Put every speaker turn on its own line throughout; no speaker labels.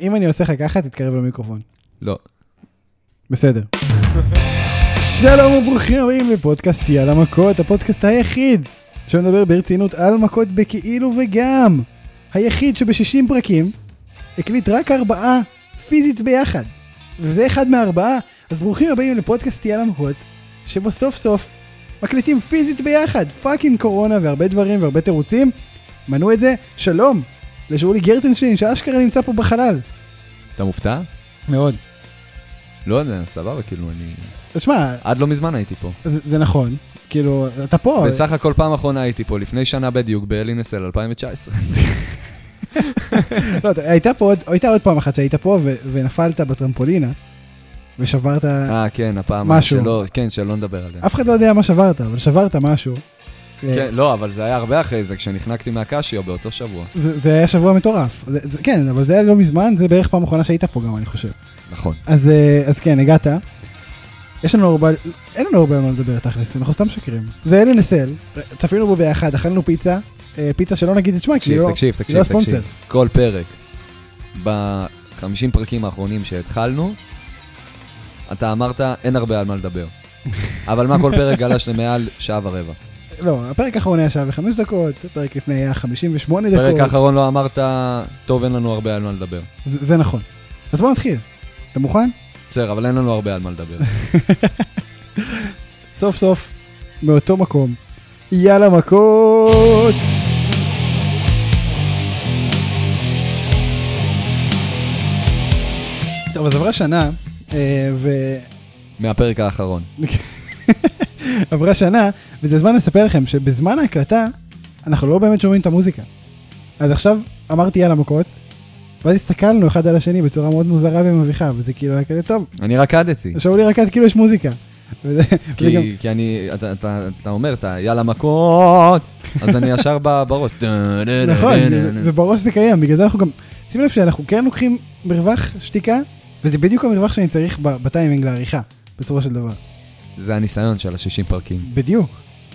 אם אני עושה לך ככה, תתקרב למיקרופון.
לא.
בסדר. שלום וברוכים הבאים לפודקאסטי על המכות, הפודקאסט היחיד שמדבר ברצינות על מכות בכאילו וגם. היחיד שב-60 פרקים הקליט רק ארבעה פיזית ביחד. וזה אחד מהארבעה, אז ברוכים הבאים לפודקאסטי על המכות, שבו סוף סוף מקליטים פיזית ביחד. פאקינג קורונה והרבה דברים והרבה תירוצים. מנעו את זה, שלום לשאולי גרצנשטיין שאשכרה נמצא פה בחלל.
אתה מופתע?
מאוד.
לא, זה סבבה, כאילו, אני...
תשמע,
עד לא מזמן הייתי פה.
זה, זה נכון, כאילו, אתה פה,
בסך הכל פעם אחרונה הייתי פה, לפני שנה בדיוק, באלינסל 2019.
לא, אתה- הייתה פה עוד, הייתה עוד פעם אחת שהיית פה ו, ונפלת בטרמפולינה ושברת,
אה, כן, הפעם...
משהו.
שלא, כן, שלא נדבר עליה.
אף אחד לא יודע מה שברת, אבל שברת משהו.
כן, לא, אבל זה היה הרבה אחרי זה, כשנחנקתי מהקשיו באותו שבוע.
זה, זה היה שבוע מטורף, זה, זה, כן, אבל זה היה לא מזמן, זה בערך פעם אחרונה שהיית פה גם, אני חושב.
נכון.
אז, אה, אז כן, הגעת. יש לנו הרבה, אין לנו הרבה על מה לדבר תכלס, אנחנו סתם שקרים. זה אלן אסל, צפינו בו ביחד, אכלנו פיצה, אה, פיצה שלא נגיד את שמה, כי היא
תקשיב,
לא,
תקשיב,
היא לא
תקשיב,
ספונסר.
תקשיב. כל פרק, ב-50 פרקים האחרונים שהתחלנו, אתה אמרת, אין הרבה על מה לדבר. אבל מה כל פרק גלש למעל שעה ורבע.
לא, הפרק האחרון היה שעה וחמש דקות, הפרק לפני היה 58 דקות.
פרק האחרון לא אמרת, טוב, אין לנו הרבה על מה לדבר.
זה זה נכון. אז בוא נתחיל. אתה מוכן?
בסדר, אבל אין לנו הרבה על מה לדבר.
סוף סוף, מאותו מקום. יאללה מכות! טוב, אז עברה שנה, אה, ו...
מהפרק האחרון.
עברה שנה, וזה זמן לספר לכם שבזמן ההקלטה, אנחנו לא באמת שומעים את המוזיקה. אז עכשיו אמרתי יאללה מכות, ואז הסתכלנו אחד על השני בצורה מאוד מוזרה ומביכה, וזה כאילו היה כזה טוב,
אני רקדתי.
שאולי רקד כאילו יש מוזיקה. וזה, וזה גם,
כי, כי אני, אתה, אתה, אתה אומר, אתה יאללה מכות, אז אני ישר ב- בראש.
נכון, זה- זה בראש זה קיים, בגלל זה אנחנו גם, שים לב שאנחנו כן לוקחים מרווח שתיקה, וזה בדיוק המרווח שאני צריך ב- בטיימינג לעריכה, בסופו של דבר.
זה הניסיון של ה-60 פרקים.
בדיוק,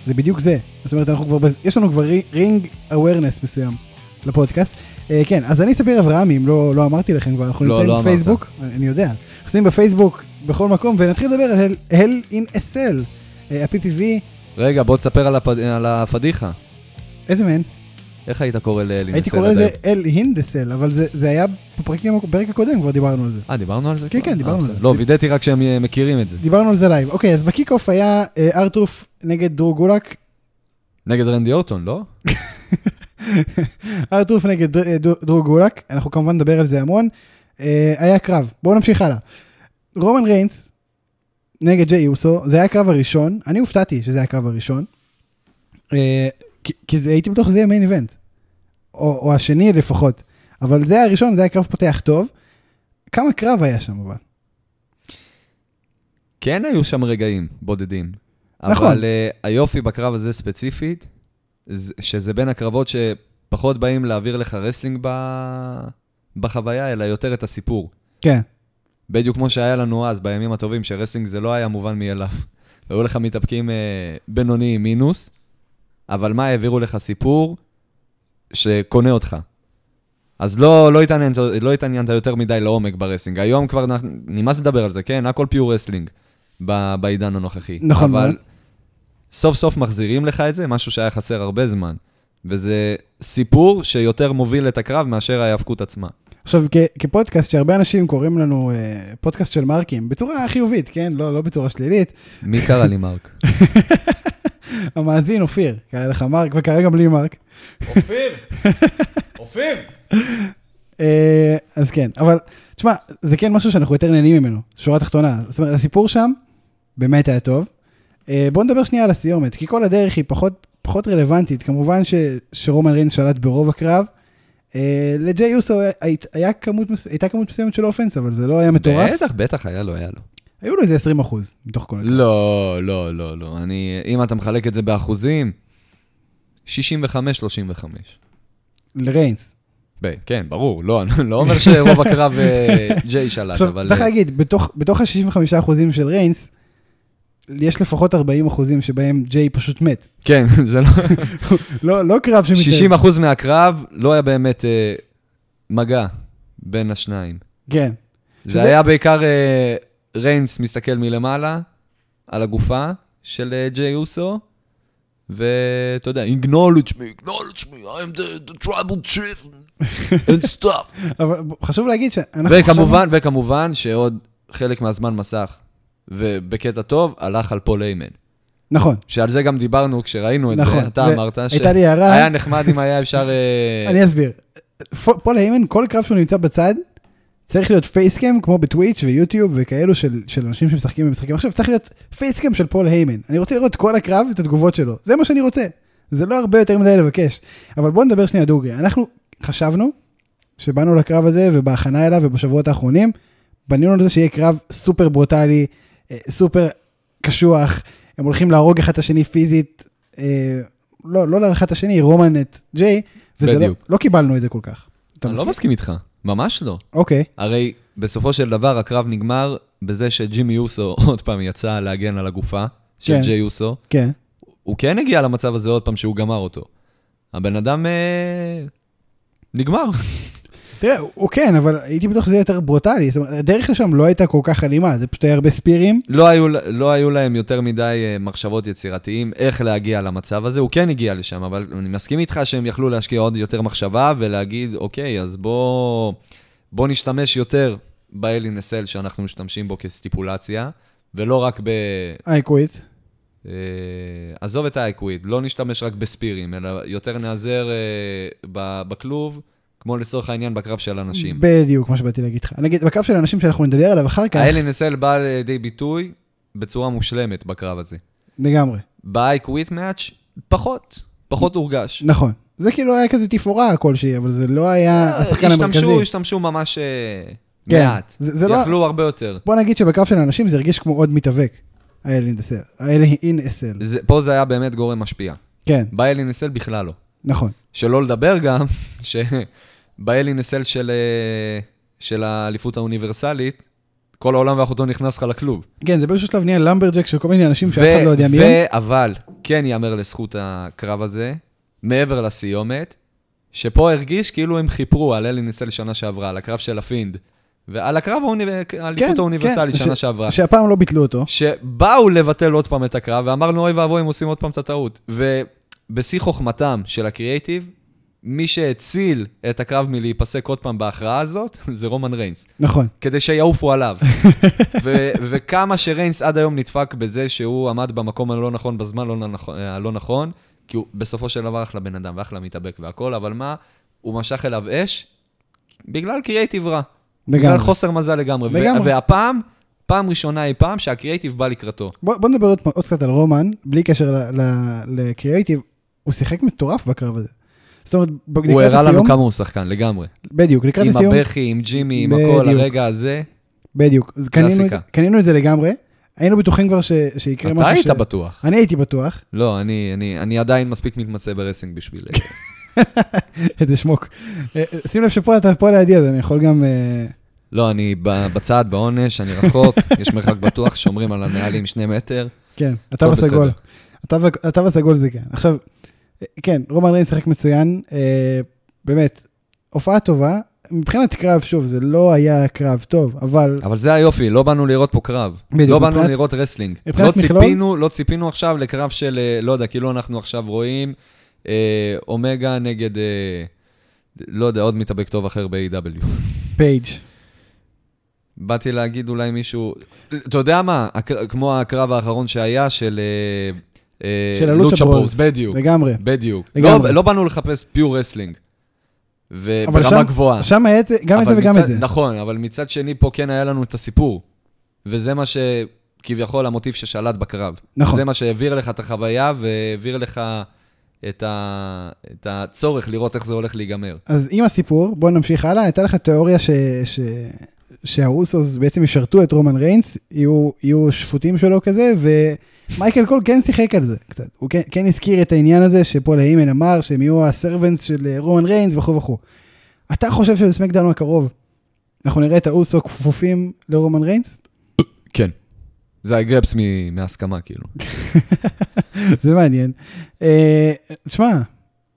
זה בדיוק זה. זאת אומרת, אנחנו כבר, בז- יש לנו כבר רי- רינג awareness מסוים לפודקאסט. אה, כן, אז אני ספיר אברהמי, אם לא, לא אמרתי לכם כבר, אנחנו
לא,
נמצאים
לא אמרת.
בפייסבוק, אני, אני יודע, אנחנו נמצאים בפייסבוק בכל מקום, ונתחיל לדבר על הל- הל אין אסל, אה, ה-PPV,
רגע, בוא תספר על, הפ... על הפדיחה.
איזה מהן?
איך היית קורא לאלי?
הייתי
מסלע
קורא לזה
דייב?
אל הינדסל, אבל זה, זה היה בפרקים- בפרק הקודם, כבר דיברנו על זה.
אה, דיברנו על זה?
כן,
כבר?
כן,
אה,
דיברנו על
בסדר.
זה.
לא, וידאתי רק שהם אה, מכירים את זה.
דיברנו על זה לייב. אוקיי, אז בקיק אוף היה אה, ארטרוף נגד דרור גולק,
נגד רנדי אורטון, לא?
ארטרוף נגד אה, דו- דרור גולק, אנחנו כמובן נדבר על זה המון. אה, היה קרב, בואו נמשיך הלאה. רומן ריינס נגד ג'יי אוסו, זה היה הקרב הראשון, אני הופתעתי שזה היה הקרב הראשון, אה, כי- כי זה- הייתי בטוח שזה יהיה מיין איבנט, או או השני לפחות, אבל זה היה הראשון, זה היה קרב פותח טוב. כמה קרב היה שם אבל?
כן היו שם רגעים בודדים.
נכון.
אבל אה, היופי בקרב הזה ספציפית, זה- שזה בין הקרבות שפחות באים להעביר לך רסלינג ב- בחוויה, אלא יותר את הסיפור.
כן,
בדיוק כמו שהיה לנו אז, בימים הטובים, שרסלינג זה לא היה מובן מאליו. היו לך מתאפקים אה, בינוניים מינוס, אבל מה, העבירו לך סיפור שקונה אותך. אז לא, לא, התעניינת, לא התעניינת יותר מדי לעומק ברסלינג. היום כבר נ- נמאס לדבר על זה, כן? הכל פיור רסלינג ב, בעידן הנוכחי.
נכון
אבל
מאוד.
סוף סוף מחזירים לך את זה, משהו שהיה חסר הרבה זמן. וזה סיפור שיותר מוביל את הקרב מאשר ההיאבקות עצמה.
עכשיו, כ- כפודקאסט שהרבה אנשים קוראים לנו אה, פודקאסט של מרקים, בצורה חיובית, כן? לא, לא בצורה שלילית.
מי קרא לי מרק?
המאזין אופיר, קרא לך מרק וקרא גם לי מרק.
אופיר! אופיר!
אה, אז כן, אבל תשמע, זה כן משהו שאנחנו יותר נהנים ממנו, שורה תחתונה. זאת אומרת, הסיפור שם באמת היה טוב. אה, בואו נדבר שנייה על הסיומת, כי כל הדרך היא פחות, פחות רלוונטית. כמובן ש, שרומן ריינס שלט ברוב הקרב. אה, לג'יי אוסו היה, היה כמות, מס- הייתה כמות מסוימת של אופנס, אבל זה לא היה מטורף.
בטח, בטח, היה לו, היה לו.
היו לו איזה 20 אחוז מתוך כל הקרב.
לא, לא, לא, לא. אני, אם אתה מחלק את זה באחוזים, 65-35.
לריינס.
ב- כן, ברור, לא, אני לא אומר שרוב הקרב אה, ג'יי שלט, אבל...
עכשיו, צריך
אה,
להגיד, בתוך, בתוך ה-65% של ריינס, יש לפחות 40 אחוזים שבהם ג'יי פשוט מת.
כן, זה לא...
לא, לא קרב שמתנהל.
60% מהקרב לא היה באמת אה, מגע בין השניים.
כן.
זה
שזה-
היה בעיקר אה, ריינס מסתכל מלמעלה על הגופה של אה, ג'יי אוסו, ואתה יודע, acknowledge me, acknowledge me, I'm the, the tribal chief and stuff.
אבל חשוב להגיד שאנחנו
וכמובן, וכמובן שעוד חלק מהזמן מסך, ובקטע טוב, הלך על פול איימן.
נכון.
שעל זה גם דיברנו כשראינו את
נכון,
זה, אתה
זה-
אמרת
הייתה לי הערה.
היה נחמד אם היה אפשר... אה,
אני אסביר. פו- פול היימן, כל קרב שהוא נמצא בצד, צריך להיות פייסקאם כמו בטוויץ' ויוטיוב וכאילו של, של אנשים שמשחקים במשחקים. עכשיו צריך להיות פייסקאם של פול היימן. אני רוצה לראות כל הקרב את התגובות שלו, זה מה שאני רוצה. זה לא הרבה יותר מדי לבקש. אבל בואו נדבר שנייה דוגרי. אנחנו חשבנו שבאנו לקרב הזה ובהכנה אליו ובשבועות האחרונים, בנינו על זה שיהיה קרב סופר ברוטלי, אה, סופר קשוח, הם הולכים להרוג אחד את השני פיזית, אה, לא, לא לאחד את השני, רומן את ג'יי, וזה לא,
בדיוק.
לא קיבלנו את זה כל כך. אתה
אני לא מסכים איתך, ממש לא.
אוקיי,
הרי בסופו של דבר הקרב נגמר בזה שג'ימי יוסו עוד פעם יצא להגן על הגופה של
כן.
ג'יי יוסו.
כן.
הוא כן הגיע למצב הזה עוד פעם שהוא גמר אותו. הבן אדם אה, נגמר.
תראה, הוא- הוא כן, אבל הייתי בטוח שזה יהיה יותר ברוטלי, זאת אומרת, הדרך לשם לא הייתה כל כך אלימה, זה פשוט היה הרבה ספירים.
לא היו, לא היו להם יותר מדי אה, מחשבות יצירתיים איך להגיע למצב הזה, הוא כן הגיע לשם, אבל אני מסכים איתך שהם יכלו להשקיע עוד יותר מחשבה ולהגיד, אוקיי, אז בוא, בוא נשתמש יותר באלינסל שאנחנו משתמשים בו כסטיפולציה, ולא רק ב...
איי קוויט.
אה, עזוב את האייקוויד, לא נשתמש רק בספירים, אלא יותר נעזר אה, ב- בכלוב, כמו לצורך העניין בקרב של אנשים.
בדיוק, מה שבאתי להגיד לך. נגיד, בקו של האנשים שאנחנו נדבר עליו אחר כך,
האלינסל בא לידי ביטוי בצורה מושלמת בקרב הזה.
לגמרי.
ב-I-Quit Match, פחות, פחות הורגש.
נכון. זה כאילו היה כזה תפאורה כלשהי, אבל זה לא היה השחקן המרכזי.
אה, השתמשו, השתמשו ממש אה,
כן,
מעט.
זה- זה לא-
יכלו הרבה יותר.
בוא נגיד שבקו של האנשים זה הרגיש כמו עוד מתאבק. האל אינסל. האל אינסל.
זה, פה זה היה באמת גורם משפיע.
כן,
ב-Alinesel בכלל לא.
נכון.
שלא לדבר גם, שבאלינסל של, אה, של האליפות האוניברסלית, כל העולם ואחותו נכנס לך לכלוב.
כן, זה באיזשהו שלב נהיה למברג'ק של כל מיני אנשים שאף אחד
ו-
לא יודע מי הם.
ו- אבל, כן ייאמר לזכות הקרב הזה, מעבר לסיומת, שפה הרגיש כאילו הם חיפרו על אלינסל שנה שעברה, על הקרב של הפינד, ועל הקרב האוניב- האליפות
כן,
האוניברסלית
כן,
שנה
ש-
שעברה.
שהפעם לא ביטלו אותו.
שבאו לבטל עוד פעם את הקרב, ואמרנו, אוי ואבוי, הם עושים עוד פעם את הטעות. ובשיא חוכמתם של הקריאייטיב, מי שהציל את הקרב מלהיפסק עוד פעם בהכרעה הזאת, זה רומן ריינס,
נכון.
כדי שיעופו עליו. ו- וכמה שריינס עד היום נדפק בזה שהוא עמד במקום הלא נכון, בזמן לא נכון- הלא נכון, כי הוא בסופו של דבר אחלה בן אדם ואחלה מתאבק והכל, אבל מה, הוא משך אליו אש בגלל קריאייטיב רע. בגלל
לגמרי.
חוסר מזל לגמרי.
לגמרי.
ו- והפעם, פעם ראשונה אי פעם שהקריאייטיב בא לקראתו.
בוא בוא נדבר עוד פעם- עוד קצת על רומן, בלי קשר ל- ל- לקריאייטיב. הוא שיחק מטורף בקרב הזה. זאת אומרת, ב-
הוא
לקראת
הראה לנו
הסיום,
כמה הוא שחקן, לגמרי.
בדיוק, לקראת
עם
הסיום,
הבכי, עם ג'ימי, עם
בדיוק.
הכל, הרגע הזה.
בדיוק, אז קנינו את-
קלאסיקה.
קנינו את זה לגמרי, היינו בטוחים כבר ש- שיקרה משהו
אתה היית
ש-
בטוח.
אני הייתי בטוח,
לא, אני- אני אני עדיין מספיק מתמצא ברסינג בשביל... אה,
איזה שמוק. אה, אה, שים לב שפה אתה פה לידי, אז אני יכול גם... אה,
לא, אני ב- בצד, בעונש, אני רחוק, יש מרחק בטוח, שומרים על הנהלים שני מטר.
כן, התו
הכל
הסגול.
בסדר.
התו הק- התו הסגול זה כן. עכשיו, אה, כן, רומן ריינס שיחק מצוין, אה, באמת, הופעה טובה. מבחינת קרב, שוב, זה לא היה קרב טוב, אבל
אבל זה היופי, לא באנו לראות פה קרב.
בדיוק,
לא באנו
מבחינת-
לראות רסלינג. לא
מבחינת מכלול-
ציפינו, לא ציפינו עכשיו לקרב של, אה, לא יודע, כאילו אנחנו עכשיו רואים אה, אומגה נגד, אה, לא יודע, עוד מתאבק טוב אחר ב-AW.
פייג'.
באתי להגיד אולי מישהו, אתה יודע מה, הקר... כמו הקרב האחרון שהיה של... אה, אה,
של הלוצ'ה
לוצ'ה
ברוז.
בדיוק,
לגמרי.
בדיוק.
לגמרי.
לא, לא באנו לחפש פיור רסלינג.
אבל
וברמה
שם-
גבוהה.
שם היה את זה, גם את זה
אבל
וגם
מצד,
את זה.
נכון, אבל מצד שני, פה כן היה לנו את הסיפור. וזה מה שכביכול המוטיב ששלט בקרב.
נכון.
זה מה שהעביר לך את החוויה והעביר לך את, ה... את הצורך לראות איך זה הולך להיגמר.
אז עם הסיפור, בוא נמשיך הלאה. הייתה לך תיאוריה ש... ש... שהאוסוס בעצם ישרתו את רומן ריינס, יהיו, יהיו שפוטים שלו כזה, ומייקל קול כן שיחק על זה קצת. הוא כן, כן הזכיר את העניין הזה שפול היימן אמר שהם יהיו הסרבנס של אה, רומן ריינס וכו' וכו'. אתה חושב שבסמקדאון הקרוב אנחנו נראה את האוסו כפופים לרומן ריינס?
כן. זה הגרפס מ... מהסכמה, כאילו.
זה מעניין. אה, תשמע,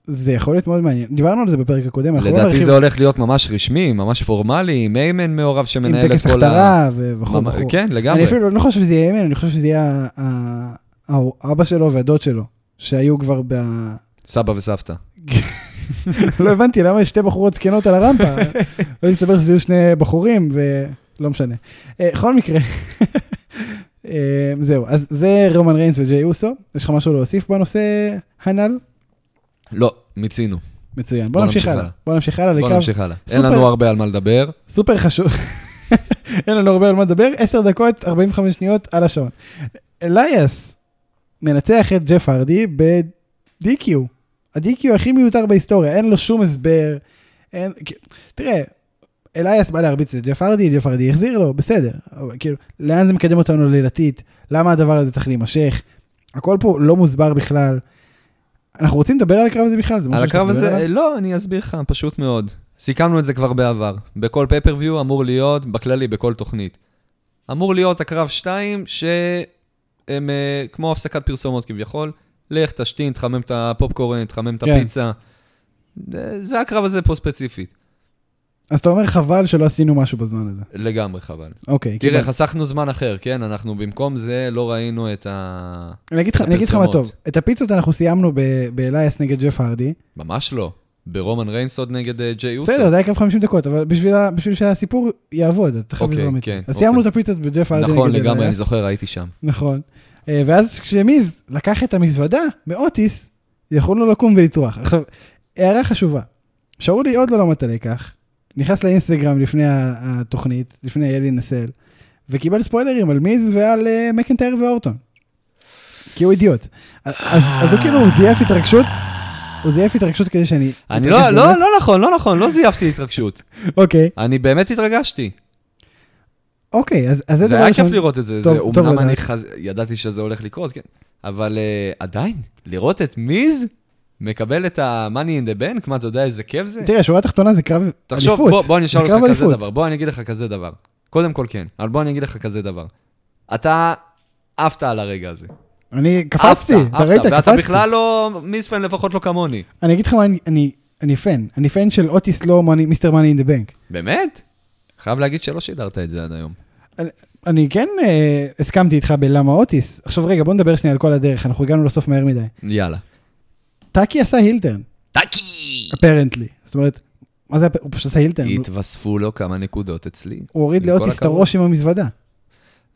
זה יכול להיות מאוד מעניין. דיברנו על זה בפרק הקודם, אנחנו לא
לדעתי
נרחיב
זה הולך להיות ממש רשמי, ממש פורמלי, עם איימן מעורב
עם
שמנהל את
טקס
כל ה...
הכתרה ו- וכו'
ממש-
וכו'.
כן,
אני
לגמרי.
אפילו לא חושב שזה יהיה אמן, אני חושב שזה יהיה ה- ה- ה- אבא שלו והדוד שלו, שהיו כבר ב...
סבא וסבתא.
לא הבנתי למה יש שתי בחורות זקנות על הרמפה, לא הסתבר שזה יהיו שני בחורים ולא משנה. אה, בכל מקרה, אה, זהו, אז זה רומן ריינס וג'יי אוסו, יש לך משהו להוסיף בנושא הנ"ל?
לא, מיצינו.
מצוין, בוא
בוא
נמשיך
נמשיך
הלאה,
הלאה.
בוא נמשיך הלאה
בוא
לקו
נמשיך הלאה. אין
סופר.
לנו הרבה על מה לדבר.
סופר חשוב. אין לנו הרבה על מה לדבר, 10 דקות, 45 שניות על השעון. אלייס מנצח את ג'ף הרדי ב-DQ. ה-DQ הכי מיותר בהיסטוריה, אין לו שום הסבר. אין... כאילו, תראה, אלייס בא להרביץ את ג'ף הרדי, ג'ף הרדי החזיר לו, בסדר. אבל כאילו, לאן זה מקדם אותנו לילתית? למה הדבר הזה צריך להימשך? הכל פה לא מוסבר בכלל. אנחנו רוצים לדבר על הקרב הזה בכלל? זה משהו
על
שאתה
הקרב
מדבר עליו?
הזה, לא, אני אסביר לך, פשוט מאוד. סיכמנו את זה כבר בעבר. בכל פייפריוויו אמור להיות, בכללי, בכל תוכנית. אמור להיות הקרב 2, שהם אה, כמו הפסקת פרסומות כביכול. לך, תשתין, תחמם את הפופקורן, תחמם את
כן.
הפיצה. אה, זה הקרב הזה פה ספציפית.
אז אתה אומר חבל שלא עשינו משהו בזמן הזה.
לגמרי חבל.
אוקיי.
תראה,
קיבלתי.
חסכנו זמן אחר, כן? אנחנו במקום זה לא ראינו את ה...
אני אגיד לך- אני אגיד לך מה
הפרסומות.
טוב, את הפיצות אנחנו סיימנו ב- באלייס נגד ג'ף הרדי.
ממש לא. ברומן ריינס עוד נגד אה, ג'יי אוסו.
בסדר, זה היה קרב 50 דקות, אבל בשביל ה- בשביל שהסיפור יעבוד, אתה חייב
אוקיי,
לזרום את זה.
כן,
אז סיימנו את
אוקיי.
הפיצות בג'ף הרדי
נכון,
נגד
לגמרי, אני
אלייס.
זוכר, הייתי שם.
נכון. אה, ואז כשמיז לקח את המזוודה מאוטיס, יכולנו לקום ולצרוח. עכשיו, הערה חשובה, שאולי עוד לא למדת לכך, נכנס לאינסטגרם לפני ה- התוכנית, לפני אלי נסל, וקיבל ספוילרים על מיז ועל אה, מקנטייר ואורטון. כי הוא אידיוט. אז- אז אז הוא כאילו, הוא זייף התרגשות, הוא זייף התרגשות כדי שאני... אתרגש
אני לא,
באמת.
לא, לא נכון, לא נכון, לא זייפתי התרגשות.
אוקיי,
אני באמת התרגשתי.
אוקיי, אז אז זה
זה
דבר
היה כיף
ראשון.
לראות את זה.
טוב,
זה-
טוב
אומנם
לדעת.
אני חז- ידעתי שזה הולך לקרות, כן. אבל אה, עדיין, לראות את מיז מקבל את ה-money in the bank, מה, אתה יודע איזה כיף זה?
תראה, שורה תחתונה זה קרב כן, אליפות.
תחשוב, בוא, בוא אני אשאל
זה
אותך
קרב
כזה
אליפות.
דבר, בוא אני אגיד לך כזה דבר. קודם כל כן, אבל בוא אני אגיד לך כזה דבר. אתה עפת על הרגע הזה.
אני קפצתי,
עפת,
אתה
עפת,
ראית,
ואתה
קפצתי.
בכלל לא מיספן, לפחות לא כמוני.
אני אגיד לך מה, אני- אני, אני פן, אני פן של אוטיס לואו, מאני- מיסטר מאני אין דה בנק.
באמת? חייב להגיד שלא שידרת את זה עד היום.
אני כן אה, הסכמתי איתך בלמה אוטיס. עכשיו רגע, בוא נדבר שנייה על כל הדרך, אנחנו הגענו לסוף מהר מדי.
יאללה.
טאקי עשה הילטרן,
טאקי!
אפרנטלי. זאת אומרת, מה זה, הפ- הוא פשוט עשה הילטרן. הוא-
התווספו לו כמה נקודות אצלי.
הוא הוריד
עם כל
לאוטיס את
הכבוד.
הראש עם המזוודה.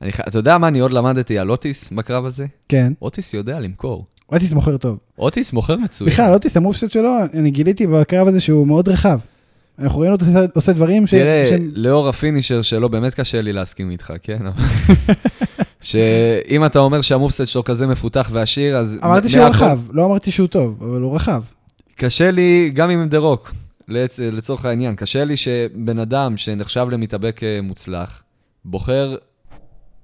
אני ח- אתה יודע מה אני עוד למדתי על אוטיס בקרב הזה?
כן,
אוטיס יודע למכור.
אוטיס מוכר טוב.
אוטיס מוכר מצוין.
בכלל, אוטיס, המובסט שלו, אני גיליתי בקרב הזה שהוא מאוד רחב. אנחנו ראינו אותו עושה- עושה דברים ש...
תראה,
שהם-
לאור הפינישר שלו, באמת קשה לי להסכים איתך, כן? אבל- שאם אתה אומר שהמובסט שלו כזה מפותח ועשיר, אז...
אמרתי
מה-
שהוא
מהכל-
רחב, לא אמרתי שהוא טוב, אבל הוא רחב.
קשה לי, גם עם דה רוק, לצ- לצורך העניין, קשה לי שבן אדם שנחשב למתאבק אה, מוצלח, בוחר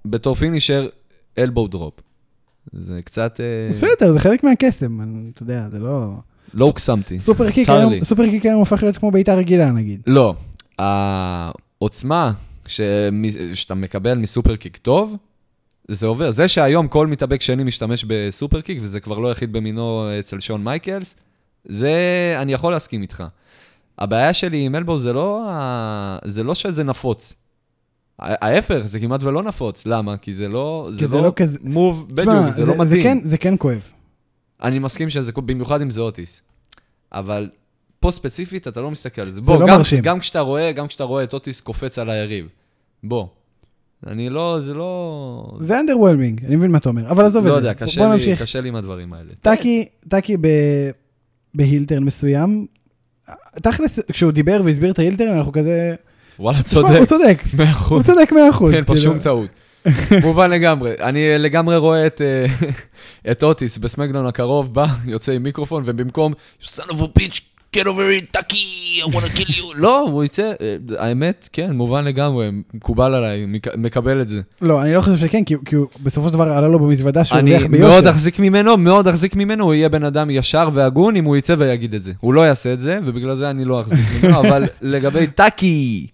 בתור פינישר אלבו דרופ. זה קצת... אה,
בסדר, זה חלק מהקסם, אני- אתה יודע, זה לא...
לא הוקסמתי.
סופר קיק
צר
היום,
לי.
סופר קיק היום הפך להיות כמו בעיטה רגילה נגיד.
לא, העוצמה שמ- שאתה מקבל מסופרקיק טוב, זה עובר. זה שהיום כל מתאבק שני משתמש בסופרקיק, וזה כבר לא יחיד במינו אצל שון מייקלס, זה, אני יכול להסכים איתך. הבעיה שלי עם אלבו זה לא, ה- זה לא שזה נפוץ. ה- ההפך, זה כמעט ולא נפוץ. למה? כי זה לא...
כי זה לא כזה-
מוב, בדיוק,
תשמע,
זה, לא
זה- זה
מתאים.
כן- זה כן כואב.
אני מסכים שזה, במיוחד אם זה אוטיס. אבל פה ספציפית אתה לא מסתכל על זה.
זה
בוא,
לא
גם,
מרשים.
גם כשאתה רואה, גם כשאתה רואה את אוטיס קופץ על היריב. בוא. אני לא, זה לא...
זה underwhelming, אני מבין מה אתה אומר, אבל עזוב את
לא
זה.
יודע,
בוא-
קשה
בוא
לי,
נמשיך.
קשה לי עם הדברים האלה.
טאקי, טאקי ב- בהילטרן מסוים. תכלס, כשהוא דיבר והסביר את ההילטרן, אנחנו כזה...
וואלה,
תשמע,
צודק.
הוא צודק,
מאה
הוא
אחוז.
צודק 100 אחוז. כאילו.
כן, פה שום טעות. מובן לגמרי. אני לגמרי רואה את, אה, את אוטיס בסמקדאון הקרוב, בא, יוצא עם מיקרופון, ובמקום, "You son of a bitch, get over it, טאקי, I want to kill you. לא, הוא יצא, אה, האמת, כן, מובן לגמרי, מקובל עליי, מק- מקבל את זה.
לא, אני לא חושב שכן, כי הוא- כי הוא בסופו של דבר עלה לו במזוודה שהוא
אני
הרוויח
מאוד
ביושר.
אחזיק ממנו, מאוד אחזיק ממנו, הוא יהיה בן אדם ישר והגון אם הוא יצא ויגיד את זה. הוא לא יעשה את זה, ובגלל זה אני לא אחזיק ממנו, אבל לגבי טאקי,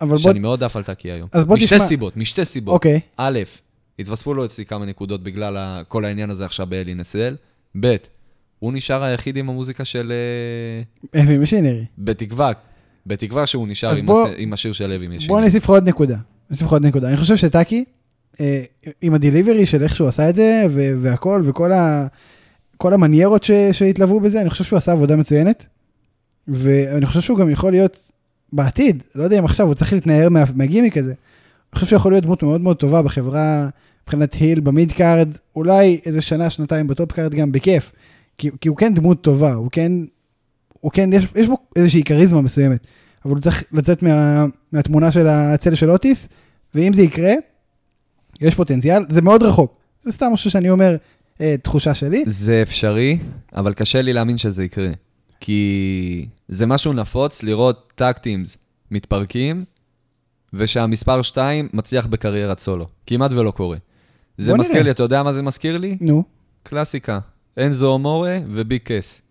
אבל בוא...
שאני מאוד עף על טאקי היום.
אז בוא
משתי
תשמע-
סיבות, משתי סיבות.
אוקיי,
א', התווספו לו אצלי כמה נקודות בגלל ה- כל העניין הזה עכשיו באלי נסל, ב', הוא נשאר היחיד עם המוזיקה של... אה,
heavy machinery.
בתקווה, בתקווה שהוא נשאר
אז
עם,
בוא-
הס... עם השיר של לוי משיר.
בוא אני אוסיף לך עוד נקודה. אני אוסיף לך עוד נקודה. אני חושב שטאקי, אה, עם הדיליברי של איך שהוא עשה את זה, ו- והכל, וכל ה... כל המניירות ש- שהתלוו בזה, אני חושב שהוא עשה עבודה מצוינת. ואני חושב שהוא גם יכול להיות בעתיד, לא יודע אם עכשיו הוא צריך להתנער מה- מהגימיק הזה. אני חושב שהוא יכול להיות דמות מאוד מאוד טובה בחברה, מבחינת היל, במיד קארד, אולי איזה שנה, שנתיים בטופ קארד גם, בכיף. כי, כי הוא כן דמות טובה, הוא כן, הוא כן, יש, יש בו איזושהי כריזמה מסוימת. אבל הוא צריך לצאת מה, מהתמונה של הצל של אוטיס, ואם זה יקרה, יש פוטנציאל, זה מאוד רחוק. זה סתם משהו שאני אומר, אה, תחושה שלי.
זה אפשרי, אבל קשה לי להאמין שזה יקרה. כי זה משהו נפוץ לראות טקטימס מתפרקים, ושהמספר 2 מצליח בקריירת סולו. כמעט ולא קורה. זה
בוא
מזכיר
נראה.
לי, אתה יודע מה זה מזכיר לי?
נו,
קלאסיקה. אנזו מורה וביג קס.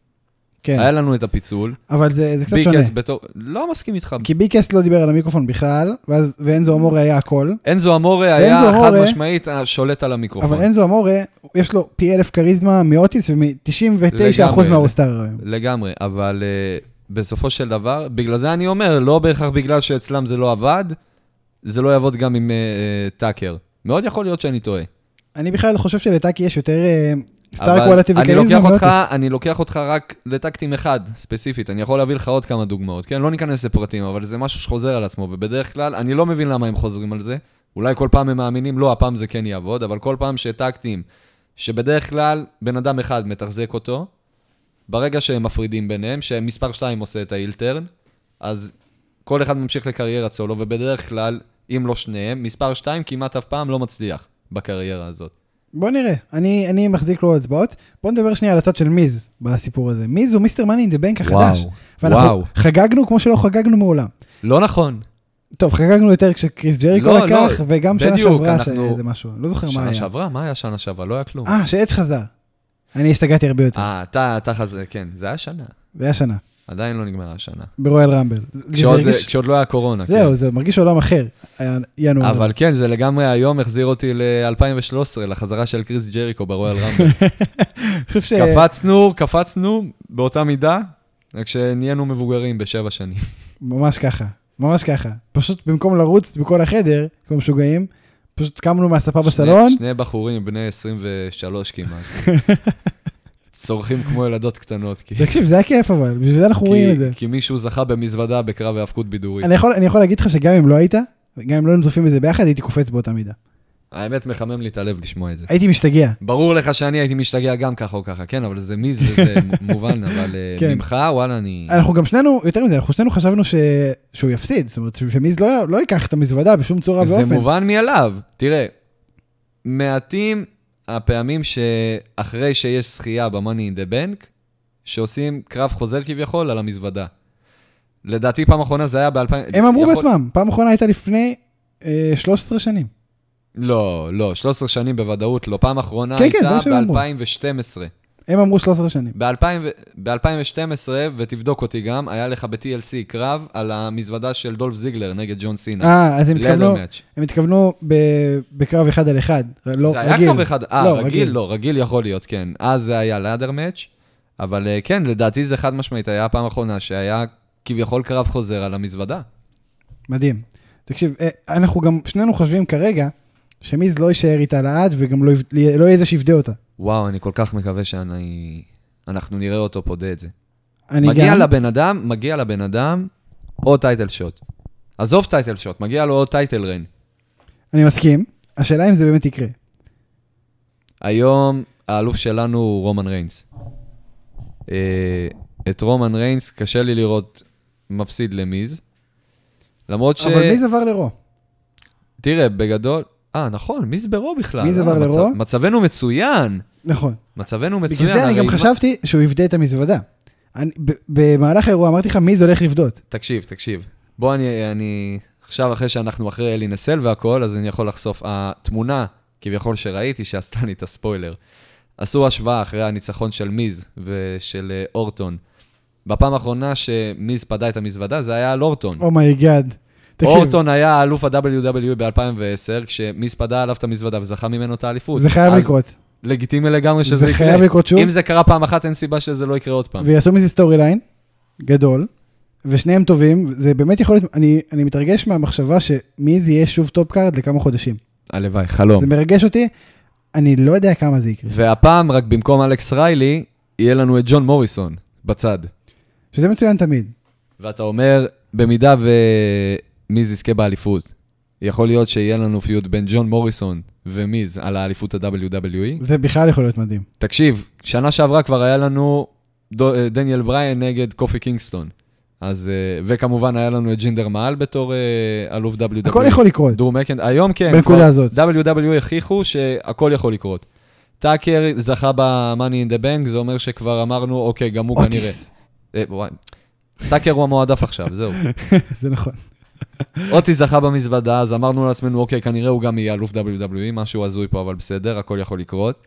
כן,
היה לנו את הפיצול.
אבל זה, זה קצת
ביג
שונה.
קס בתור... לא מסכים איתך.
כי ביקס לא דיבר על המיקרופון בכלל, ואז, ואנזו אמורה היה הכל,
אנזו אמורה
ואנזו
היה חד
אמורה-
משמעית השולט על המיקרופון.
אבל אנזו אמורה, יש לו פי אלף כריזמה מאוטיס ומ-99%
לגמרי.
מהרוסטארר היום.
לגמרי, אבל uh, בסופו של דבר, בגלל זה אני אומר, לא בהכרח בגלל שאצלם זה לא עבד, זה לא יעבוד גם עם uh, טאקר. מאוד יכול להיות שאני טועה.
אני בכלל חושב שלטאקי יש יותר אה, סטאר
אבל
קוולטי
אני
וכריזמה
לוקח אותך,
מאוטיס.
אני לוקח אותך רק לטקטים אחד, ספציפית. אני יכול להביא לך עוד כמה דוגמאות, כן? לא ניכנס לפרטים, אבל זה משהו שחוזר על עצמו, ובדרך כלל, אני לא מבין למה הם חוזרים על זה. אולי כל פעם הם מאמינים, לא, הפעם זה כן יעבוד, אבל כל פעם שטקטים, שבדרך כלל בן אדם אחד מתחזק אותו, ברגע שהם מפרידים ביניהם, שמספר 2 עושה את האילטרן, אז כל אחד ממשיך לקריירת סולו, ובדרך כלל, אם לא שניהם, מספר 2 כמעט אף פעם לא מצליח בקריירה הזאת.
בוא נראה, אני, אני מחזיק לו אצבעות. בוא נדבר שנייה על הצד של מיז בסיפור הזה. מיז הוא מיסטר מאני אין דה בנק החדש.
וואו,
ואנחנו
וואו.
חגגנו כמו שלא חגגנו מעולם.
לא נכון.
טוב, חגגנו יותר כשקריס ג'ריקו
לא, לא,
לקח, וגם שנה
בדיוק,
שעברה
אנחנו-
שזה משהו, לא זוכר מה
שנה
היה.
שעברה? מה היה שנה שעברה? לא היה כלום.
אה, שאדג' חזר. אני השתגעתי הרבה יותר,
אה, אתה, אתה חזה, כן, זה היה שנה.
זה היה שנה,
עדיין לא נגמרה השנה.
ברויאל רמבל. זה- זה
כשעוד,
הרגיש-
כשעוד לא היה קורונה.
זהו, זה לא מרגיש עולם אחר, היה
כן.
ינואר.
אבל כן, זה לגמרי היום החזיר אותי ל-2013, לחזרה של קריס ג'ריקו ברויאל רמבל.
אני חושב ש...
קפצנו, קפצנו באותה מידה, רק שנהיינו מבוגרים בשבע שנים.
ממש ככה, ממש ככה. פשוט במקום לרוץ בכל החדר, כמו משוגעים, פשוט קמנו מהספה בסלון,
שני, שני בחורים בני 23 כמעט. צורכים כמו ילדות קטנות, כי,
תקשיב, זה היה כיף אבל, בשביל זה אנחנו רואים את זה.
כי, כי מישהו זכה במזוודה בקרב האבקות בידורית.
אני יכול, אני יכול להגיד לך שגם אם לא היית, גם אם לא היינו צופים בזה ביחד, הייתי קופץ באותה מידה.
האמת, מחמם לי את הלב לשמוע את זה.
הייתי משתגע.
ברור לך שאני הייתי משתגע גם ככה או ככה, כן, אבל זה מיז וזה מ- מובן, אבל אה,
כן.
ממך, וואלה, אני...
אנחנו גם שנינו, יותר מזה, אנחנו שנינו חשבנו ש... שהוא יפסיד, זאת אומרת שמיז לא, לא ייקח את המזוודה בשום צורה
זה
ואופן.
מובן מאליו. תראה, מעטים הפעמים שאחרי שיש זכייה ב-Money in the Bank, שעושים קרב חוזר כביכול על המזוודה. לדעתי, פעם אחרונה זה היה ב-2000...
הם אמרו בעצמם, פעם אחרונה הייתה לפני אה, 13 שנים.
לא, לא, 13 שנים בוודאות לא. פעם אחרונה
כן, כן, זה מה שהם
הייתה
אמרו.
ב-2012.
הם אמרו 13 שנים.
ב-2012, ותבדוק אותי גם, היה לך ב-TLC קרב על המזוודה של דולף זיגלר נגד ג'ון סינה.
אה, אז הם התכוונו,
Leather match.
הם התכוונו ב... בקרב אחד על אחד, לא
זה
רגיל.
היה קרב אחד, אה,
לא,
רגיל, לא, רגיל יכול להיות, כן. אז זה היה לאדר מאץ', אבל אה, כן, לדעתי זה חד משמעית, היה הפעם האחרונה שהיה כביכול קרב חוזר על המזוודה.
מדהים. תקשיב, אה, אנחנו גם שנינו חושבים כרגע שמיז לא יישאר איתה לעד וגם לא, יב- לא יהיה זה שיפדה אותה.
וואו, אני כל כך מקווה שאני... אנחנו נראה אותו פודה את זה.
אני
מגיע
גם...
לבן אדם, מגיע לבן אדם עוד טייטל שוט. עזוב טייטל שוט, מגיע לו עוד טייטל ריין.
אני מסכים, השאלה אם זה באמת יקרה.
היום האלוף שלנו הוא רומן ריינס. אה, את רומן ריינס קשה לי לראות מפסיד למיז. למרות ש...
אבל מיז עבר לרו.
תראה, בגדול... אה, נכון, מיז ברו בכלל.
מיז
אה,
עבר לרו?
מצבנו מצוין.
נכון.
מצבנו מצוין.
בגלל זה אני
הרי
גם
מה-
חשבתי שהוא יפדה את המזוודה. אני- ב- במהלך האירוע אמרתי לך, מיז הולך לפדות.
תקשיב, תקשיב. בוא אני, אני... עכשיו, אחרי שאנחנו אחרי אלי נסל והכל, אז אני יכול לחשוף. התמונה, כביכול, שראיתי, שעשתה לי את הספוילר. עשו השוואה אחרי הניצחון של מיז ושל אה, אורטון. בפעם האחרונה שמיז פדה את המזוודה, זה היה על אורטון.
אומייגאד. אוקיי, תקשיב,
אורטון היה E אלוף ה-WWE ב-2010, כשמיז פדה עליו את המזוודה וזכה ממנו את האליפות.
זה חייב
אז
לקרות.
לגיטימי לגמרי שזה
זה
יקרה.
חייב לקרות שוב.
אם זה קרה פעם אחת, אין סיבה שזה לא יקרה עוד פעם.
ויעשו מזה סטורי ליין, גדול, ושניהם טובים, זה באמת יכול להיות, אני, אני מתרגש מהמחשבה שמי זה יהיה שוב טופ קארד לכמה חודשים.
הלוואי, חלום.
זה מרגש אותי, אני לא יודע כמה זה יקרה.
והפעם, רק במקום אלכס ריילי, יהיה לנו את ג'ון מוריסון בצד.
שזה מצוין תמיד.
ואתה אומר, במידה ומיז יזכה באליפות, יכול להיות שיהיה לנו פיוט בין ג'ון מוריסון ומיז על האליפות ה-WWE?
זה בכלל יכול להיות מדהים.
תקשיב, שנה שעברה כבר היה לנו דו- אה, דניאל בריין נגד קופי קינגסטון. אז, אה, וכמובן היה לנו את ג'ינדר מעל בתור אה, אלוף WWE.
הכל יכול לקרות.
דור מקנד, היום כן.
בנקודה
כבר
הזאת.
WWE הכיחו שהכל יכול לקרות. טאקר זכה ב-Money in the Bank, זה אומר שכבר אמרנו, אוקיי, גם הוא כנראה.
אוטיס.
אה, וואי. טאקר הוא המועדף עכשיו, זהו.
זה נכון.
אוטי זכה במזוודה, אז אמרנו לעצמנו, אוקיי, כנראה הוא גם יהיה אלוף WWE, משהו הזוי פה, אבל בסדר, הכל יכול לקרות.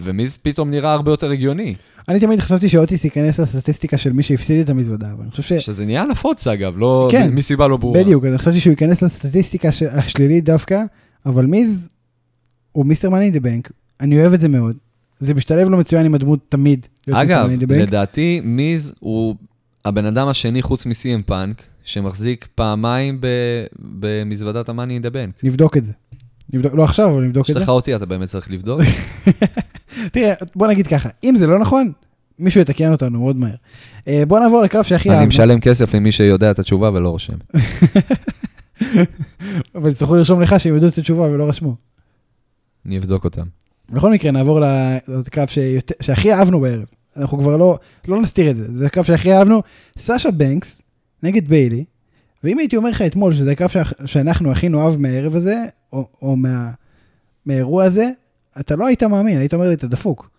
ומיז פתאום נראה הרבה יותר הגיוני,
אני תמיד חשבתי שאוטיס ייכנס לסטטיסטיקה של מי שהפסיד את המזוודה, אבל אני חושב ש...
שזה נהיה נפוץ אגב, לא...
כן.
מ- מסיבה לא ברורה.
בדיוק, אני חשבתי שהוא ייכנס לסטטיסטיקה ש- השלילית דווקא, אבל מיז הוא מיסטר מאני דה בנק, אני אוהב את זה מאוד. זה משתלב לו מצוין עם הדמות תמיד. להיות מיסטר
אגב,
מאני in the Bank.
לדעתי, מיז הוא הבן אדם השני חוץ מ-CM פאנק, שמחזיק פעמיים ב... במזוודת המאני דבנק.
נבדוק את זה. נבדוק, לא עכשיו, אבל נבדוק
יש
את זה.
לך אותי, אתה באמת צריך לבדוק.
תראה, בוא נגיד ככה, אם זה לא נכון, מישהו יתקן אותנו מאוד מהר. אה, בוא נעבור לקרב שהכי
אני
אהבנו,
משלם כסף למי שיודע את התשובה ולא רושם.
אבל יצטרכו לרשום לך שהם ידעו את התשובה ולא רשמו.
אני אבדוק אותם.
בכל מקרה, נעבור ל- לקרב שיותר- שהכי אהבנו בערב. אנחנו כבר לא, לא נסתיר את זה, זה הקרב שהכי אהבנו. סאשה בנקס נגד ביילי, ואם הייתי אומר לך אתמול שזה הקרב שאח- שאנחנו הכי נאהב מהערב הזה, או, או מה, מהאירוע הזה, אתה לא היית מאמין, היית אומר לי, אתה דפוק.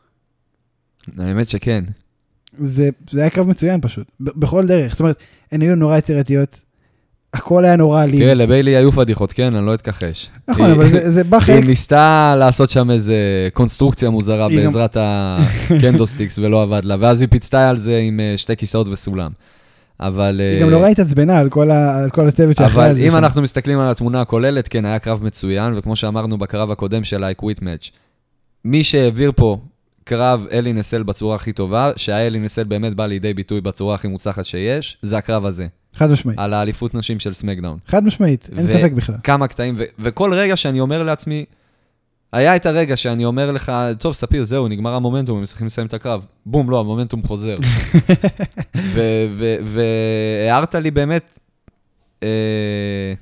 האמת שכן.
זה, זה היה קרב מצוין פשוט, ב- בכל דרך. זאת אומרת, הן היו נורא יצירתיות, הכל היה נורא אלים.
תראה, לביילי היו פדיחות, כן? אני לא אתכחש.
נכון,
היא-
אבל זה, זה בא חלק,
היא ניסתה לעשות שם איזה קונסטרוקציה מוזרה
היא גם-
בעזרת הקנדוסטיקס ולא עבד לה, ואז היא פיצתה על זה עם אה, שתי כיסאות וסולם. אבל...
היא
אה,
גם לא נורא התעצבנה על כל, ה, על כל הצוות שאחראי על
אבל
זה.
אם
שם.
אנחנו מסתכלים על התמונה הכוללת, כן, היה קרב מצוין, וכמו שאמרנו בקרב הקודם של ה-Quit Match, מי שהעביר פה קרב אלי נסל בצורה הכי טובה, שהיה אלי נסל באמת בא לידי ביטוי בצורה הכי מוצלחת שיש, זה הקרב הזה,
חד משמעית,
על האליפות נשים של סמקדאון.
חד משמעית, אין
אה, ו-
ספק בכלל.
כמה קטעים, ו- וכל רגע שאני אומר לעצמי, היה את הרגע שאני אומר לך, טוב, ספיר, זהו, נגמר המומנטום, הם צריכים לסיים את הקרב. בום, לא, המומנטום חוזר. ו- ו- והערת לי באמת אה,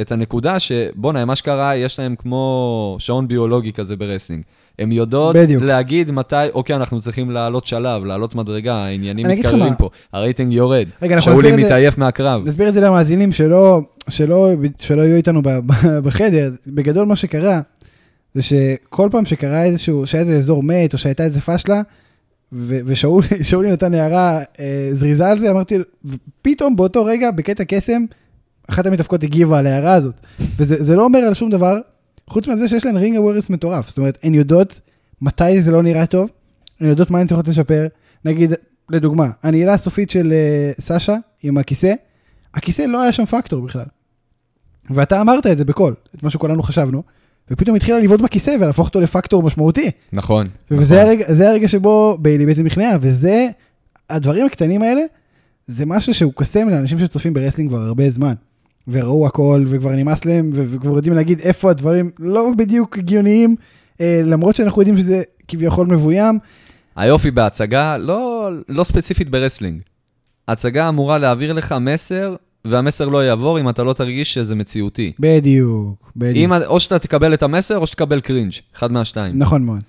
את הנקודה שבואנה, מה שקרה, יש להם כמו שעון ביולוגי כזה ברסלינג. הן יודעות
בדיוק.
להגיד מתי, אוקיי, אנחנו צריכים לעלות שלב, לעלות מדרגה, העניינים
אני אגיד לך
מתקררים
מה.
פה, הרייטינג יורד,
רגע, אנחנו
שאולי
נסביר את זה-
מתעייף מהקרב.
נסביר את זה למאזינים שלא, שלא, שלא יהיו איתנו ב- ב- בחדר. בגדול מה שקרה, זה שכל פעם שקרה איזשהו, שהיה איזה אזור מת, או שהייתה איזה פשלה, ו- ושאולי שאולי נתן הערה אה, זריזה על זה, אמרתי, ופתאום באותו רגע, בקטע קסם, אחת המתאבקות הגיבה על ההערה הזאת. וזה זה לא אומר על שום דבר, חוץ מזה שיש להן רינג אווירס מטורף. זאת אומרת, הן יודעות מתי זה לא נראה טוב, הן יודעות מה הן צריכות לשפר. נגיד, לדוגמה, הנעילה הסופית של אה, סשה עם הכיסא, הכיסא לא היה שם פקטור בכלל. ואתה אמרת את זה בקול, את מה שכולנו חשבנו, ופתאום התחילה לבעוט בכיסא ולהפוך אותו לפקטור משמעותי.
נכון.
וזה הרגע, זה הרגע שבו ביילי בעצם נכנעה, וזה, הדברים הקטנים האלה, זה משהו שהוא קסם לאנשים שצופים ברסלינג כבר הרבה זמן. וראו הכל, וכבר נמאס להם, ו- וכבר יודעים להגיד איפה הדברים לא בדיוק הגיוניים, אה, למרות שאנחנו יודעים שזה כביכול מבוים.
היופי בהצגה, לא, לא ספציפית ברסלינג. הצגה אמורה להעביר לך מסר, והמסר לא יעבור אם אתה לא תרגיש שזה מציאותי.
בדיוק, בדיוק.
אם, או שאתה תקבל את המסר, או שתקבל קרינג', אחד מהשתיים.
נכון מאוד.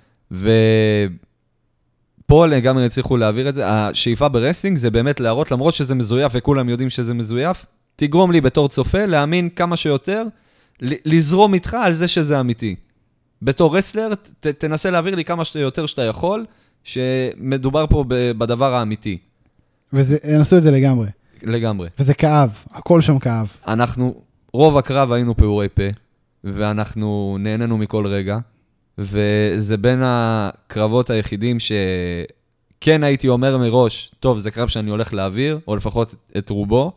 ופה לגמרי הצליחו להעביר את זה. השאיפה ברסלינג זה באמת להראות, למרות שזה מזויף וכולם יודעים שזה מזויף, תגרום לי בתור צופה להאמין כמה שיותר, ל- לזרום איתך על זה שזה אמיתי. בתור רסלר, ת- תנסה להעביר לי כמה שיותר שאתה יכול, שמדובר פה ב- בדבר האמיתי,
וזה, הם עשו את זה לגמרי.
לגמרי.
וזה כאב, הכל שם כאב.
אנחנו, רוב הקרב היינו פעורי פה, ואנחנו נהנינו מכל רגע, וזה בין הקרבות היחידים שכן הייתי אומר מראש, טוב, זה קרב שאני הולך להעביר, או לפחות את רובו.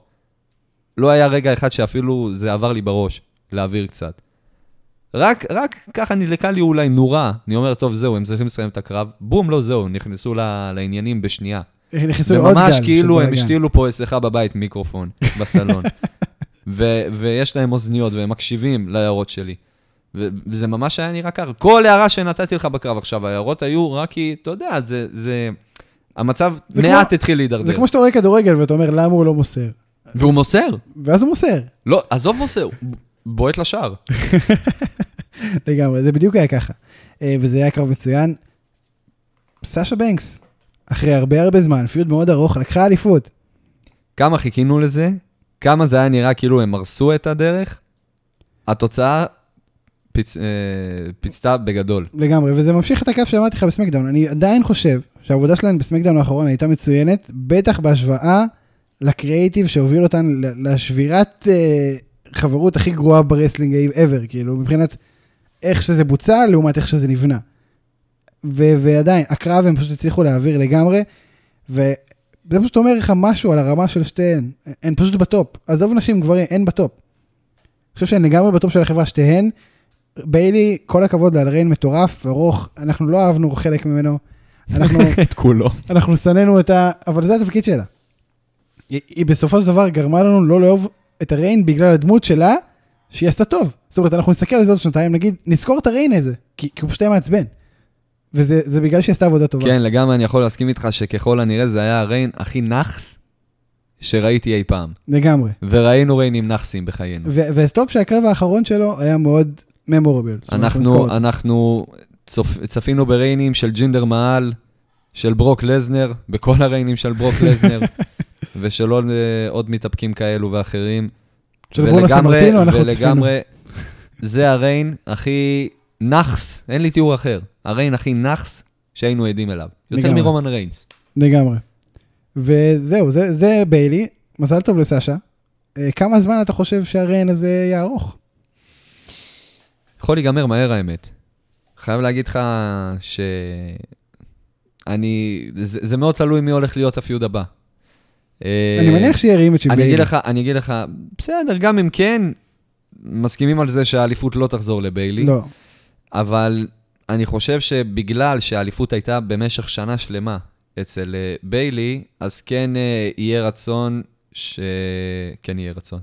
לא היה רגע אחד שאפילו זה עבר לי בראש, להעביר קצת. רק, רק ככה נדלקה לי אולי נורה, אני אומר, טוב, זהו, הם צריכים לסיים את הקרב, בום, לא, זהו, נכנסו ל- לעניינים בשנייה.
נכנסו לעוד גל.
וממש
של
כאילו הם
בלאגן.
השתילו פה אצלך בבית מיקרופון, בסלון. ו- ויש להם אוזניות והם מקשיבים להערות שלי. ו- וזה ממש היה נראה ככה. כל הערה שנתתי לך בקרב עכשיו, ההערות היו רק כי, אתה יודע, זה... זה... המצב
זה
מעט
כמו-
התחיל
זה
להידרדר.
כמו שאתה רואה כדורגל ואתה אומר, למה הוא לא מוסר?
והוא מוסר.
ואז הוא מוסר.
לא, עזוב מוסר, הוא בועט לשער.
לגמרי, זה בדיוק היה ככה. אה, וזה היה קרב מצוין. סאשה בנקס, אחרי הרבה הרבה זמן, פיוד מאוד ארוך, לקחה אליפות.
כמה חיכינו לזה, כמה זה היה נראה כאילו הם הרסו את הדרך, התוצאה פיצ... אה, פיצתה בגדול.
לגמרי, וזה ממשיך את הקו שאמרתי לך בסמקדאון. אני עדיין חושב שהעבודה שלהן בסמקדאון האחרון הייתה מצוינת, בטח בהשוואה לקריאיטיב שהוביל אותן ל- לשבירת אה, חברות הכי גרועה ברסלינג אי- ever, כאילו, מבחינת איך שזה בוצע לעומת איך שזה נבנה. ו- ועדיין, הקרב הם פשוט הצליחו להעביר לגמרי, וזה פשוט אומר לך משהו על הרמה של שתיהן. הן פשוט בטופ. עזוב נשים, גברים, הן בטופ. אני חושב שהן לגמרי בטופ של החברה, שתיהן. ביילי, כל הכבוד לה על ריין מטורף, ארוך, אנחנו לא אהבנו חלק ממנו, אנחנו,
את כולו.
אנחנו שנאנו את ה... אבל זה התפקיד שלה. היא, היא בסופו של דבר גרמה לנו לא לאהוב את הריין בגלל הדמות שלה, שהיא עשתה טוב. זאת אומרת, אנחנו נסתכל על זה עוד שנתיים, נגיד, נזכור את הריין הזה, כי, כי הוא פשוט היה מעצבן. וזה זה בגלל שהיא עשתה עבודה טובה.
כן, לגמרי אני יכול להסכים איתך שככל הנראה זה היה הריין הכי נאחס שראיתי אי פעם.
לגמרי.
וראינו ריינים נאחסים בחיינו.
ו- וטוב שהקרב האחרון שלו היה מאוד ממורבל.
אנחנו, אנחנו צופ... צפינו בריינים של ג'ינדר מעל, של ברוק לזנר, בכל הריינים של ברוק לזנר, ושל עוד, אה, עוד מתאפקים כאלו ואחרים.
של ברונו
ולגמרי-
סמרטינו אנחנו
ולגמרי, זה הריין הכי נאחס, אין לי תיאור אחר, הריין הכי נאחס שהיינו עדים אליו. יותר
לגמרי.
מרומן ריינס.
לגמרי. וזהו, זה, זה ביילי, מזל טוב לסשה. אה, כמה זמן אתה חושב שהריין הזה יהיה ארוך?
יכול להיגמר מהר האמת. חייב להגיד לך ש... אני... זה, זה מאוד תלוי מי הולך להיות הפיוד הבא. אה,
אני מניח שיהיה רימץ' עם
אני
ביילי.
אגיד לך, אני אגיד לך, בסדר, גם אם כן, מסכימים על זה שהאליפות לא תחזור לביילי,
לא,
אבל אני חושב שבגלל שהאליפות הייתה במשך שנה שלמה אצל אה, ביילי, אז כן אה, יהיה רצון ש... כן יהיה רצון.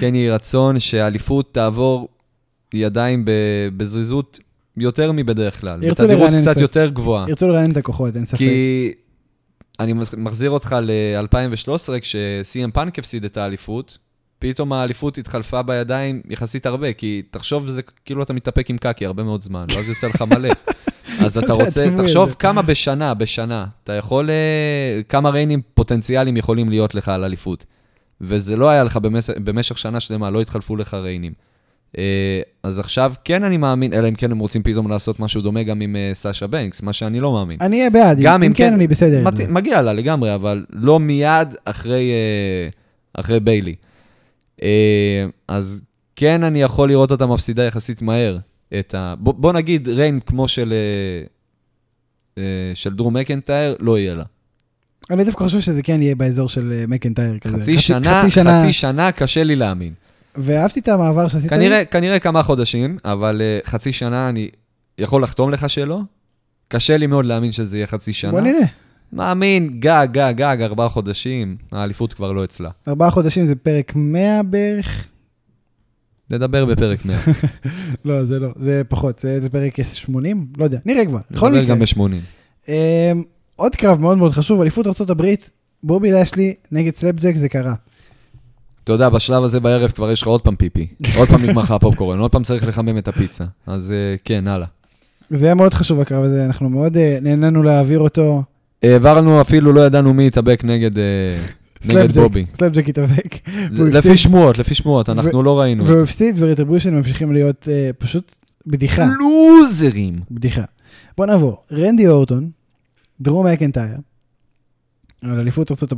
כן יהיה רצון שהאליפות תעבור ידיים ב... בזריזות יותר מבדרך כלל.
ירצו
בתדירות
לרענן
קצת
קצת.
יותר גבוהה.
ירצו לרענן את הכוחות, אין ספק.
אה. כי אני מח- מחזיר אותך ל-2013, כש-CM פאנק הפסיד את האליפות, פתאום האליפות התחלפה בידיים יחסית הרבה, כי תחשוב, זה כאילו אתה מתאפק עם קקי הרבה מאוד זמן, ואז יוצא לך מלא. אז אתה רוצה,
הדימוי הזה?
תחשוב כמה בשנה, בשנה, אתה יכול, אה, כמה ריינים פוטנציאליים יכולים להיות לך על אליפות. וזה לא היה לך במס... במשך שנה שלמה, לא התחלפו לך ריינים. אה, אז עכשיו כן אני מאמין, אלא אם כן הם רוצים פתאום לעשות משהו דומה גם עם אה, סאשה בנקס, מה שאני לא מאמין.
אני אהיה בעד, אם
גם אם
כן
כן,
אני בסדר. עם
מת-
זה.
מגיע לה לגמרי, אבל לא מיד אחרי, אה, אחרי ביילי. אה, אז כן, אני יכול לראות אותה מפסידה יחסית מהר. את ה... בוא, בוא נגיד ריין כמו של, אה, אה, של דרום מקנטייר, לא יהיה לה.
אני דווקא חושב שזה כן יהיה באזור של אה, מקנטייר כזה.
חצי שנה,
חצי שנה,
חצי שנה קשה לי להאמין.
ואהבתי את המעבר שעשית. לי.
כנראה, כנראה כמה חודשים, אבל אה, חצי שנה אני יכול לחתום לך שלא. קשה לי מאוד להאמין שזה יהיה חצי שנה.
בוא נראה.
מאמין, גג, גג, גג, ארבעה חודשים, האליפות כבר לא אצלה.
ארבעה חודשים זה פרק 100 בערך?
נדבר בפרק 100,
לא, זה לא, זה פחות, זה זה פרק 80? לא יודע, נראה כבר. בכל מקרה.
נדבר גם ב-80.
אמ, עוד קרב מאוד מאוד חשוב, אליפות ארה"ב, בובי לשלי נגד סלפג'ק זה קרה.
אתה יודע, בשלב הזה בערב כבר יש לך עוד פעם פיפי, עוד פעם נגמר לך הפופקורן, עוד פעם צריך לחמם את הפיצה. אז אה, כן, הלאה.
זה היה מאוד חשוב הקרב הזה, אנחנו מאוד אה, נהנינו להעביר אותו.
העברנו, אפילו לא ידענו מי יתאבק נגד אה, נגד
סלאפג'ק,
בובי.
סלפג'ק התאבק,
זה-
והוא הפסיד.
לפי שמועות, לפי שמועות, אנחנו לא ראינו את
והוא
זה.
הפסיד וריטריבושן ממשיכים להיות אה, פשוט בדיחה,
לא. לוזרים.
בדיחה. בוא נעבור, רנדי אורטון, דרום מקנטייר, על אליפות ארה"ב.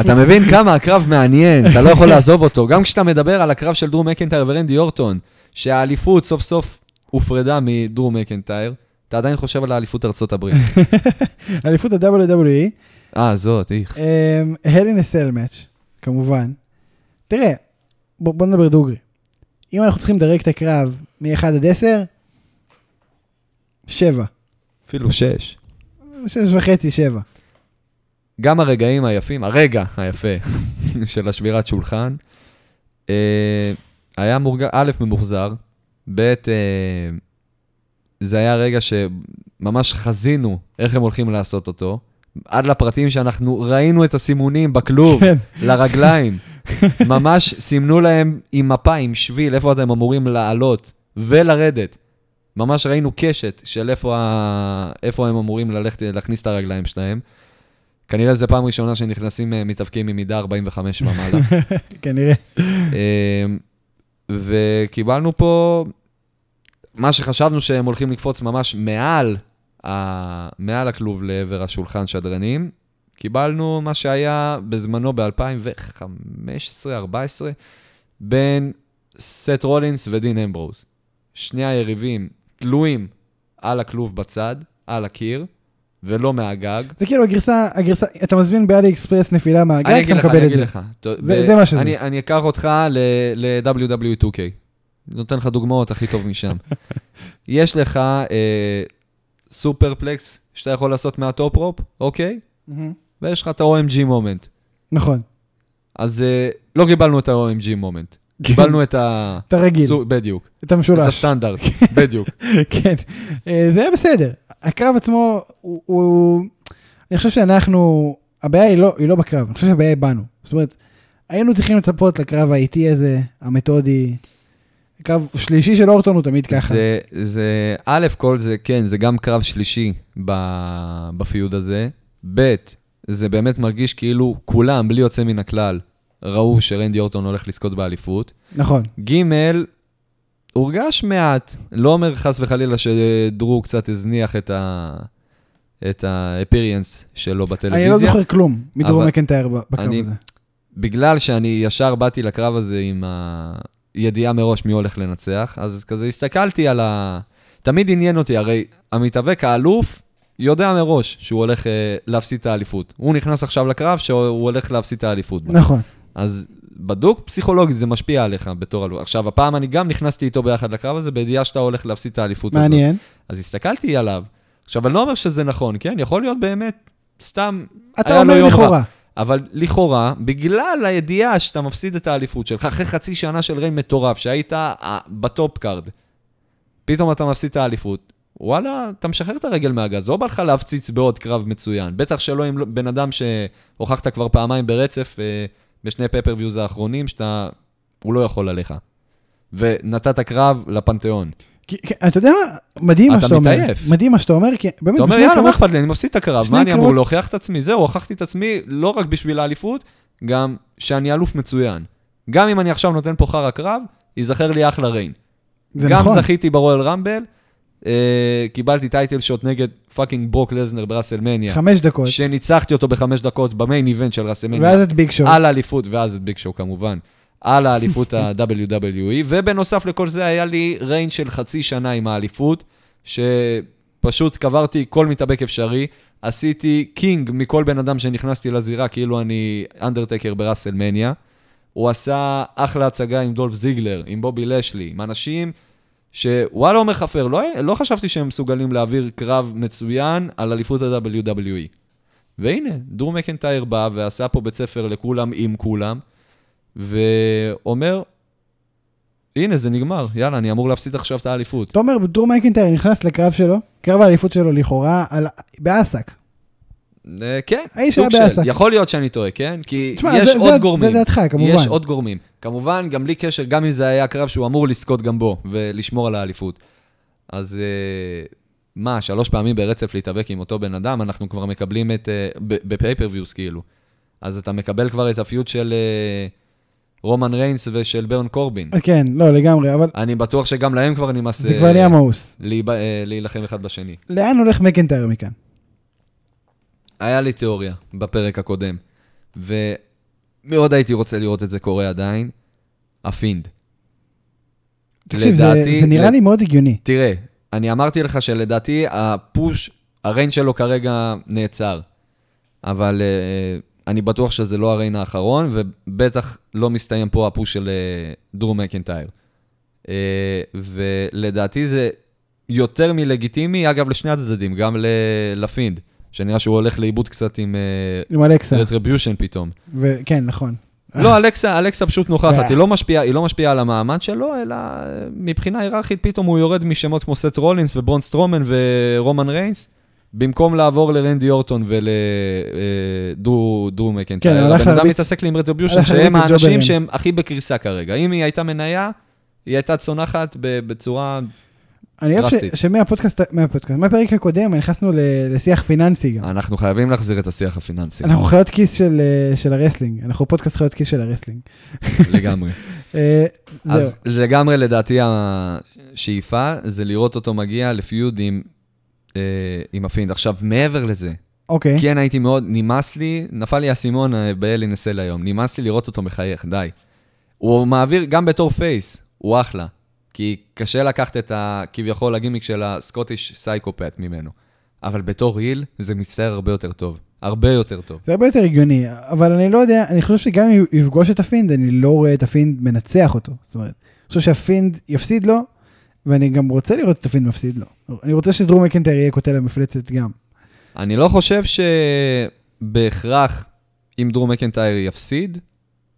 אתה מבין כמה הקרב מעניין, אתה לא יכול לעזוב אותו. גם כשאתה מדבר על הקרב של דרום מקנטייר ורנדי אורטון, שהאליפות סוף סוף הופרדה מדרום מקנטייר, אתה עדיין חושב על האליפות ארצות הברית.
אליפות E, ה-WWE, אמ,
אה, זאת, איך.
הלי נסל מאץ', כמובן. תראה, בוא, בוא נדבר דוגרי. אם אנחנו צריכים לדרג את הקרב מ-1 עד 10, 7.
אפילו שש.
6 וחצי, 7.
גם הרגעים היפים, הרגע היפה של השבירת שולחן, אה, היה מורג... א', ממוחזר, ב', אה, זה היה רגע שממש חזינו איך הם הולכים לעשות אותו, עד לפרטים שאנחנו ראינו את הסימונים בכלוב,
כן.
לרגליים. ממש סימנו להם עם מפה, עם שביל, איפה אתם אמורים לעלות ולרדת. ממש ראינו קשת של איפה, ה... איפה הם אמורים ללכת, להכניס את הרגליים שלהם. כנראה זו פעם ראשונה שנכנסים אה, מתאבקים ממידה 45 ומעלה.
כנראה.
אה, וקיבלנו פה מה שחשבנו שהם הולכים לקפוץ ממש מעל, ה... מעל הכלוב לעבר השולחן שדרנים. קיבלנו מה שהיה בזמנו ב-2015-2014 בין סט רולינס ודין אמברוז. שני היריבים תלויים על הכלוב בצד, על הקיר, ולא מהגג.
זה כאילו הגרסה, הגרסה, אתה מזמין באלי אקספרס נפילה מהגג,
אני
אתה
אגיד לך,
כן מקבל
אני
את
אגיד
זה.
לך. טוב,
זה-
ב-
זה מה שזה.
אני- אני אקח אותך ל-WW2K. נותן לך דוגמאות הכי טוב משם. יש לך אה, סופרפלקס שאתה יכול לעשות מהטופ רופ, אוקיי?
מהמם.
ויש לך את ה-OMG מומנט.
נכון.
אז אה, לא קיבלנו את ה-OMG מומנט. קיבלנו את ה...
כן. אתה רגיל,
סו- בדיוק.
אתה
את
משולש.
הסטנדרט, בדיוק.
כן. אה, זה היה בסדר. הקרב עצמו הוא- הוא... אני חושב שאנחנו... הבעיה היא לא, היא לא בקרב, אני חושב שהבעיה היא בנו. זאת אומרת, היינו צריכים לצפות לקרב האיטי הזה, המתודי. קרב שלישי של אורטון הוא תמיד ככה.
זה, זה, א', כל זה, כן, זה גם קרב שלישי ב- בפיוד הזה. ב', זה באמת מרגיש כאילו כולם, בלי יוצא מן הכלל, ראו שרנדי אורטון הולך לזכות באליפות.
נכון.
ג', הורגש מעט, לא אומר חס וחלילה שדרו קצת הזניח את ה... את ה-appearance שלו בטלוויזיה.
אני לא זוכר כלום מדרום
אבל-
מקנטייר ב- בקרב
אני-
הזה.
בגלל שאני ישר באתי לקרב הזה עם הידיעה מראש מי הולך לנצח, אז כזה הסתכלתי על ה... תמיד עניין אותי, הרי המתאבק האלוף יודע מראש שהוא הולך אה, להפסיד את האליפות. הוא נכנס עכשיו לקרב שהוא הולך להפסיד את האליפות. בה.
נכון.
אז בדוק פסיכולוגית זה משפיע עליך בתור אלוף. עכשיו, הפעם אני גם נכנסתי איתו ביחד לקרב הזה בידיעה שאתה הולך להפסיד את האליפות הזאת.
מעניין.
אז הסתכלתי עליו. עכשיו, אני לא אומר שזה נכון, כן? יכול להיות באמת סתם... היה
אתה
לו
אומר
יום רע.
לכאורה.
אבל לכאורה, בגלל הידיעה שאתה מפסיד את האליפות שלך, אחרי חצי שנה של ריין מטורף, שהיית אה, בטופ קארד, פתאום אתה מפסיד את האליפות, וואלה, אתה משחרר את הרגל מהגז, לא בא לך להפציץ בעוד קרב מצוין. בטח שלא עם לא- בן אדם שהוכחת כבר פעמיים ברצף אה, בשני פפרוויוז האחרונים, שאתה, הוא לא יכול עליך. ונתת קרב לפנתיאון.
כי- כי- אתה יודע מה? מדהים מה
אתה
שאתה אומר.
מתעייף.
מדהים מה שאתה אומר, כי באמת,
אתה אומר,
בשני
יאללה, מה
הקרבות
אכפת לי, אני מפסיד את הקרב,
שני
מה אני אמור
הקרבות-
להוכיח את עצמי? זהו, הוכחתי את עצמי לא רק בשביל האליפות, גם שאני אלוף מצוין. גם אם אני עכשיו נותן פה חרא קרב, ייזכר לי אחלה ריין.
זה
גם
נכון.
זכיתי ברויאל רמבל, אה, קיבלתי טייטל שוט נגד פאקינג ברוק לזנר בראסלמניה,
חמש דקות,
שניצחתי אותו בחמש דקות במיין איבנט של ראסלמניה,
ואז את ביג שואו.
על האליפות, ואז את ביג שואו כמובן, על האליפות ה-WWE, ובנוסף לכל זה היה לי ריין של חצי שנה עם האליפות, שפשוט קברתי כל מתאבק אפשרי, עשיתי קינג מכל בן אדם שנכנסתי לזירה, כאילו אני אנדרטקר בראסלמניה. הוא עשה אחלה הצגה עם דולף זיגלר, עם בובי לשלי, עם אנשים שוואלה אומר חפר, לא, לא חשבתי שהם מסוגלים להעביר קרב מצוין על אליפות ה-WWE. והנה, דרום מקנטייר בא ועשה פה בית ספר לכולם עם כולם, ואומר, הנה, זה נגמר, יאללה, אני אמור להפסיד עכשיו את האליפות.
תומר דור מקינטייר נכנס לקרב שלו, קרב האליפות שלו לכאורה, על- באסק.
אה, כן,
האיש
סוג
היה
של,
בעסק.
יכול להיות שאני טועה, כן? כי
תשמע,
יש
זה-
עוד
זה-
גורמים.
זה דעתך, כמובן.
יש עוד גורמים. כמובן, גם בלי קשר, גם אם זה היה קרב שהוא אמור לזכות גם בו ולשמור על האליפות. אז אה, מה, שלוש פעמים ברצף להתאבק עם אותו בן אדם, אנחנו כבר מקבלים את... אה, ב- בפייפריוויוס, כאילו. אז אתה מקבל כבר את הפיוט של אה, רומן ריינס ושל ברן קורבין.
כן, לא, לגמרי, אבל
אני בטוח שגם להם כבר נמאס...
זה
אה,
כבר נהיה מאוס.
להיב- אה, להילחם אחד בשני.
לאן הולך מקינטייר מכאן?
היה לי תיאוריה בפרק הקודם, ומאוד הייתי רוצה לראות את זה קורה עדיין, הפינד.
תקשיב, זה-
לדעתי-
זה נראה
לד-
לי מאוד הגיוני.
תראה, אני אמרתי לך שלדעתי הפוש, הריין שלו כרגע נעצר, אבל uh, אני בטוח שזה לא הריין האחרון, ובטח לא מסתיים פה הפוש של אה, דרום מקינטייר. אה, ולדעתי זה יותר מלגיטימי, אגב, לשני הצדדים, גם ל- לפינד, שנראה שהוא הולך לאיבוד קצת עם
עם אלכסה.
רטריביושן פתאום.
ו- כן, נכון.
לא, אלכסה, אלכסה פשוט
אה.
נוכחת, היא לא משפיעה, היא לא משפיעה על המעמד שלו, אלא אה, מבחינה היררכית פתאום הוא יורד משמות כמו סט רולינס וברון סטרומן ורומן ריינס, במקום לעבור לרנדי אורטון ולדרו
כן,
מקנטייר.
הלך
הבן אדם
להרביץ-
מתעסק לי עם רטריביושן,
הלך
שהם
להרביץ לג'וברים.
האנשים שהם הכי בקריסה כרגע. אם היא הייתה מניה, היא הייתה צונחת ב- בצורה...
אני אוהב
דרסטית.
ש- שמהפודקאסט, מהפודקאסט, מהפרק הקודם נכנסנו ל- לשיח פיננסי גם.
אנחנו חייבים להחזיר את השיח הפיננסי,
אנחנו חיות כיס של, אה, של הרסלינג, אנחנו פודקאסט חיות כיס של הרסלינג.
לגמרי.
אה, זהו,
אז לגמרי לדעתי השאיפה זה לראות אותו מגיע לפיוד עם, אה, עם הפינד. עכשיו, מעבר לזה,
אוקיי.
כן הייתי מאוד, נמאס לי, נפל לי האסימון אה, באלין אסל היום, נמאס לי לראות אותו מחייך, די. הוא מעביר, גם בתור פייס, הוא אחלה. כי קשה לקחת את ה... כביכול הגימיק של הסקוטיש סייקופט ממנו. אבל בתור היל, זה מצטער הרבה יותר טוב. הרבה יותר טוב.
זה הרבה יותר הגיוני, אבל אני לא יודע, אני חושב שגם אם הוא יפגוש את הפינד, אני לא רואה את הפינד מנצח אותו. זאת אומרת, אני חושב שהפינד יפסיד לו, ואני גם רוצה לראות את הפינד מפסיד לו. אני רוצה שדרום מקנטר יהיה קוטל המפלצת גם.
אני לא חושב שבהכרח אם דרום מקנטייר יפסיד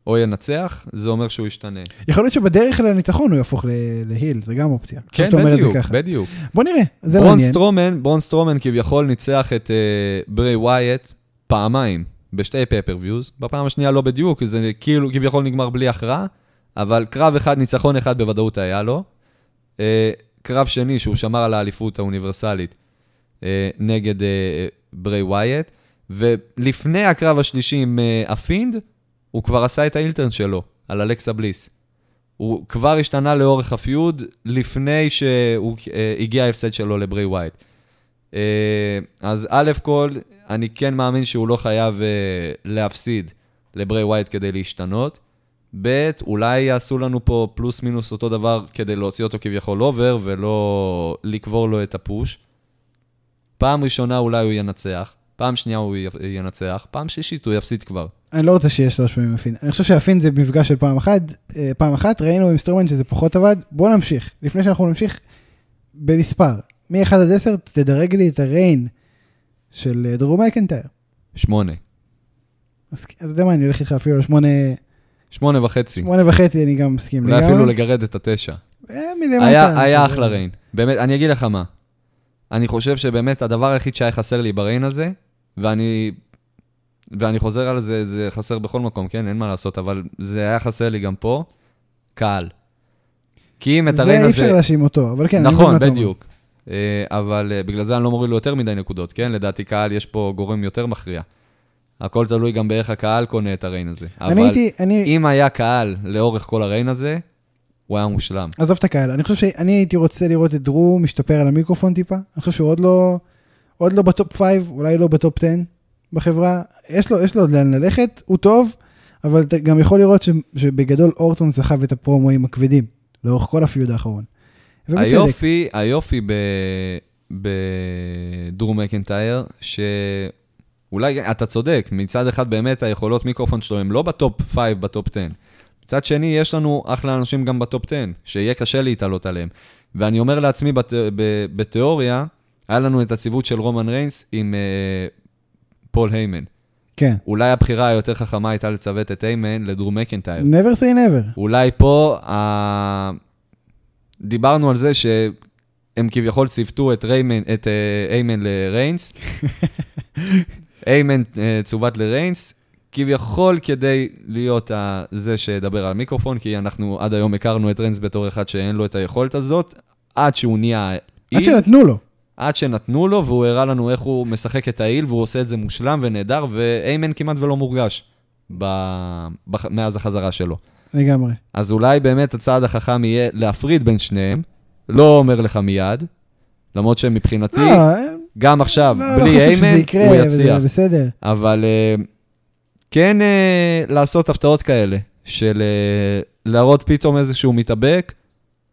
או ינצח, זה אומר שהוא ישתנה.
יכול להיות שבדרך לניצחון הוא יהפוך ל- להיל, זה גם אופציה. אני חושב
כן,
שאתה אומר את זה
בדיוק,
ככה.
בדיוק.
בוא נראה, זה
ברון
מעניין.
סטרומן, ברון סטרומן כביכול ניצח את uh, ברי ווייט פעמיים, בשתי פפרוויוז. בפעם השנייה לא בדיוק, כי זה כאילו כביכול נגמר בלי הכרעה, אבל קרב אחד, ניצחון אחד בוודאות היה לו. Uh, קרב שני, שהוא שמר על האליפות האוניברסלית uh, נגד uh, ברי ווייט, ולפני הקרב השלישי עם uh, הפינד, הוא כבר עשה את האילטרן שלו, על אלכסה בליס. הוא כבר השתנה לאורך הפיוד לפני שהוא אה, הגיע ההפסד שלו לברי ווייט. אה, אז א' כל, אני כן מאמין שהוא לא חייב אה, להפסיד לברי ווייט כדי להשתנות. ב', אולי יעשו לנו פה פלוס מינוס אותו דבר כדי להוציא אותו כביכול אובר ולא לקבור לו את הפוש. פעם ראשונה אולי הוא ינצח, פעם שנייה הוא י- ינצח, פעם שלישית הוא יפסיד כבר.
אני לא רוצה שיהיה שלוש פעמים הפינד. אני חושב שהפינד זה מפגש של פעם אחת, אה, פעם אחת, ראינו עם סטרומן שזה פחות עבד, בוא נמשיך. לפני שאנחנו נמשיך, במספר, מ-1 עד 10 תדרג לי את הריין של אה, דרום מקנטר.
שמונה.
אז אתה יודע מה, אני הולך איתך אפילו לשמונה,
שמונה וחצי.
שמונה וחצי, אני גם מסכים
אולי
לגמרי.
אפילו לגרד את התשע.
אה, מלמטה.
היה,
אתה
היה
יודע.
אחלה ריין. באמת, אני אגיד לך מה. אני חושב שבאמת הדבר היחיד שהיה חסר לי בריין הזה, ואני, ואני חוזר על זה, זה חסר בכל מקום, כן? אין מה לעשות, אבל זה היה חסר לי גם פה, קהל. כי אם את
זה
הריין
אי
הזה...
אפשר להאשים אותו, אבל כן, אני מבין
נכון,
מה אתה אומר.
בדיוק. אה, אבל אה, בגלל זה אני לא מוריד לו יותר מדי נקודות, כן? לדעתי קהל, יש פה גורם יותר מכריע. הכל תלוי גם באיך הקהל קונה את הריין הזה. אבל
אני הייתי, אני,
אם היה קהל לאורך כל הריין הזה, הוא היה מושלם.
עזוב את הקהל, אני חושב שאני הייתי רוצה לראות את דרו משתפר על המיקרופון טיפה, אני חושב שהוא עוד לא, עוד לא בטופ 5, אולי לא בטופ 10 בחברה, יש לו, יש לו עוד לאן ללכת, הוא טוב, אבל אתה גם יכול לראות ש, שבגדול אורטון סחב את הפרומואים הכבדים, לאורך כל הפיוד האחרון. ובצדק,
היופי, היופי ב- בדרום מקנטייר, שאולי, אתה צודק, מצד אחד באמת היכולות מיקרופון שלו הם לא בטופ 5, בטופ 10. מצד שני, יש לנו אחלה אנשים גם בטופ 10, שיהיה קשה להתעלות עליהם. ואני אומר לעצמי, בת, ב, בתיאוריה, היה לנו את הציוות של רומן ריינס עם אה, פול היימן.
כן,
אולי הבחירה היותר חכמה הייתה לצוות את היימן לדרום מקנטייר.
never say never,
אולי פה, ה... דיברנו על זה שהם כביכול ציוותו את ריימן, את אה, איימן לריינס. איימן אה, צוות לריינס, כביכול כדי להיות ה... זה שידבר על המיקרופון, כי אנחנו עד היום הכרנו את ריינס בתור אחד שאין לו את היכולת הזאת, עד שהוא נהיה...
עד
איל,
שנתנו לו,
עד שנתנו לו, והוא הראה לנו איך הוא משחק את העיל, והוא עושה את זה מושלם ונהדר, ואיימן כמעט ולא מורגש ב... בח... מאז החזרה שלו.
לגמרי.
אז אולי באמת הצעד החכם יהיה להפריד בין שניהם, לא אומר לך מיד, למרות שמבחינתי,
לא, אה,
גם עכשיו,
לא, לא
בלי
חושב שזה
איימן,
יקרה,
הוא
וזה
יצליח.
בסדר.
אבל אה, כן אה, לעשות הפתעות כאלה, של אה, להראות פתאום איזשהו מתאבק,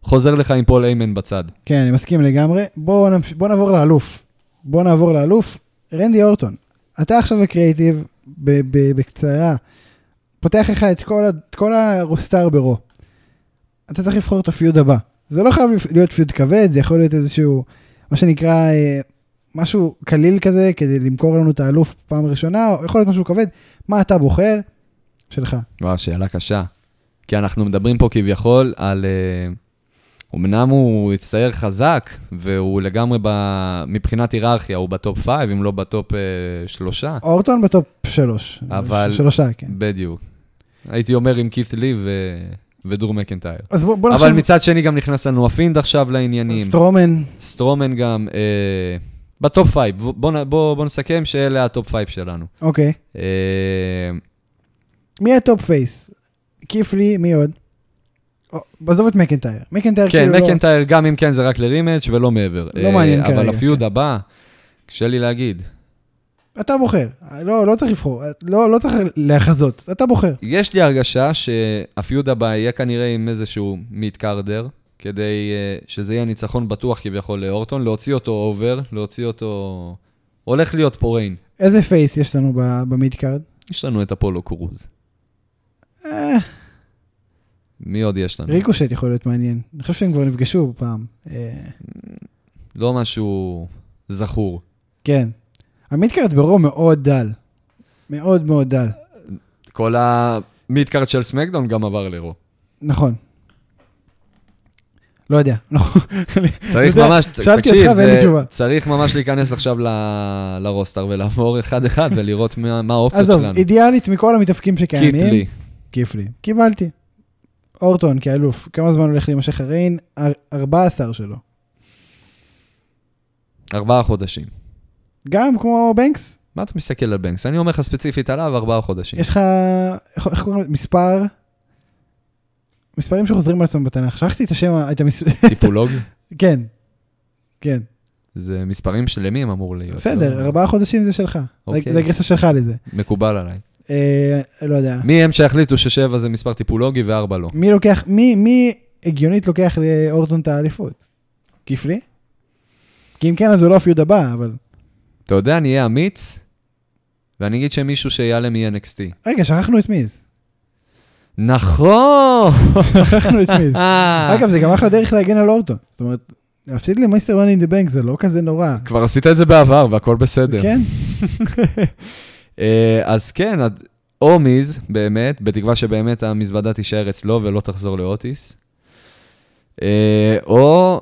חוזר לך עם פול איימן בצד.
כן, אני מסכים לגמרי. בואו נמש... בוא נעבור לאלוף. בואו נעבור לאלוף. רנדי אורטון, אתה עכשיו הקריאיטיב, ב- ב- בקצרה, פותח לך את כל, ה- את כל הרוסטר ברו. אתה צריך לבחור את הפיוד הבא. זה לא חייב להיות פיוד כבד, זה יכול להיות איזשהו, מה שנקרא, אה, משהו קליל כזה, כדי למכור לנו את האלוף פעם ראשונה, או יכול להיות משהו כבד. מה אתה בוחר? שלך.
וואו, שאלה קשה. כי אנחנו מדברים פה כביכול על... אה, אמנם הוא הצטייר חזק, והוא לגמרי ב... מבחינת היררכיה, הוא בטופ 5, אם לא בטופ אה, שלושה.
אורטון בטופ שלוש.
אבל-
שלושה, כן.
בדיוק. הייתי אומר עם כית' לי ו... ודור מקנטייר.
אז בוא, בוא
אבל
נחשוב,
מצד שני גם נכנס לנו הפינד עכשיו לעניינים.
סטרומן,
סטרומן גם, אה, בטופ פייב, בוא, נ- בוא, בוא נסכם שאלה הטופ פייב שלנו.
אוקיי.
אה,
מי הטופ פייס? כיפלי, מי עוד? או, עזוב את מקנטייר. מקנטייר
כן,
כאילו לא...
מקנטייר, גם אם כן, זה רק לרימג' ולא מעבר.
לא
אה,
מעניין
אבל
כרגע,
הפיוד
כן.
הבא, קשה לי להגיד.
אתה בוחר. לא, לא צריך לבחור. לא, לא צריך להחזות. אתה בוחר.
יש לי הרגשה שהפיוד הבא יהיה כנראה עם איזשהו מיט קרדר, כדי אה, שזה יהיה ניצחון בטוח כביכול לאורטון, להוציא אותו אובר, להוציא אותו... הולך להיות פה ריין.
איזה פייס יש לנו ב- במידקארד?
יש לנו את אפולו קרוז.
אה,
מי עוד יש לנו?
ריקושט יכול להיות מעניין. אני חושב שהם כבר נפגשו פעם. אה,
לא משהו זכור.
כן. המידקארד ברוב מאוד דל. מאוד מאוד דל.
כל המידקארט של סמקדאון גם עבר לרו.
נכון. לא יודע. לא.
צריך
יודע,
ממש,
שאלתי
תקשיב,
אותך ואין לי
זה-
תשובה.
צריך ממש להיכנס עכשיו ל- לרוסטר ולעבור אחד-אחד ולראות מה מה האופציות
עזוב,
שלנו.
אידיאלית מכל המתאבקים שקיימים.
קיטלי.
כיפלי. קיבלתי. אורטון כאלוף, כמה זמן הולך להימשך הריין? אר- 14 שלו.
ארבעה חודשים.
גם כמו בנקס?
מה אתה מסתכל על בנקס? אני אומר לך ספציפית עליו, ארבעה חודשים.
יש לך, איך איך קוראים לזה? מספר? מספרים שחוזרים על עצמם בתנ"ך. שכחתי את השם, ה- את המס...
טיפולוג?
כן. כן.
זה מספרים שלמים אמור להיות.
בסדר,
לא?
ארבעה חודשים זה שלך.
אוקיי.
זה- זה הגרסה שלך לזה.
מקובל עליי.
אה, לא יודע.
מי הם שהחליטו ששבע זה מספר טיפולוגי וארבע לא?
מי לוקח, מי, מי הגיונית לוקח לאורטון את האליפות? כיפלי? כי אם כן, אז הוא לא הפיוד הבא, אבל...
אתה יודע, אני אהיה אמיץ, ואני אגיד שמישהו שיעלה מ-NXT.
רגע, שכחנו את מיז.
נכון!
שכחנו את מיז.
אה.
אגב, זה גם אחלה דרך להגן על אורטון. זאת אומרת, להפסיד למייסטר מאני דה בנק זה לא כזה נורא.
כבר עשית את זה בעבר והכל בסדר.
כן?
אה, אז כן, עד- או מיז, באמת, בתקווה שבאמת המזוודה תישאר אצלו ולא תחזור לאוטיס. אה, או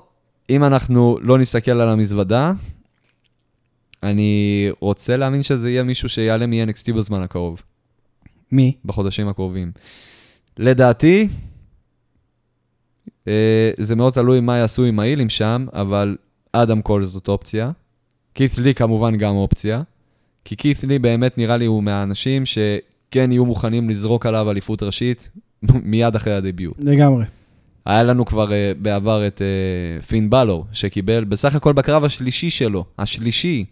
אם אנחנו לא נסתכל על המזוודה, אני רוצה להאמין שזה יהיה מישהו שיעלה מ-NXT בזמן הקרוב,
מי?
בחודשים הקרובים. לדעתי, אה, זה מאוד תלוי מה יעשו עם האילים שם, אבל אדם קול זאת אופציה. כית' לי כמובן גם אופציה, כי כית' לי באמת נראה לי הוא מהאנשים שכן יהיו מוכנים לזרוק עליו אליפות ראשית מיד אחרי הדביוט.
לגמרי.
היה לנו כבר uh, בעבר את uh, פין בלור, שקיבל בסך הכל בקרב השלישי שלו, השלישי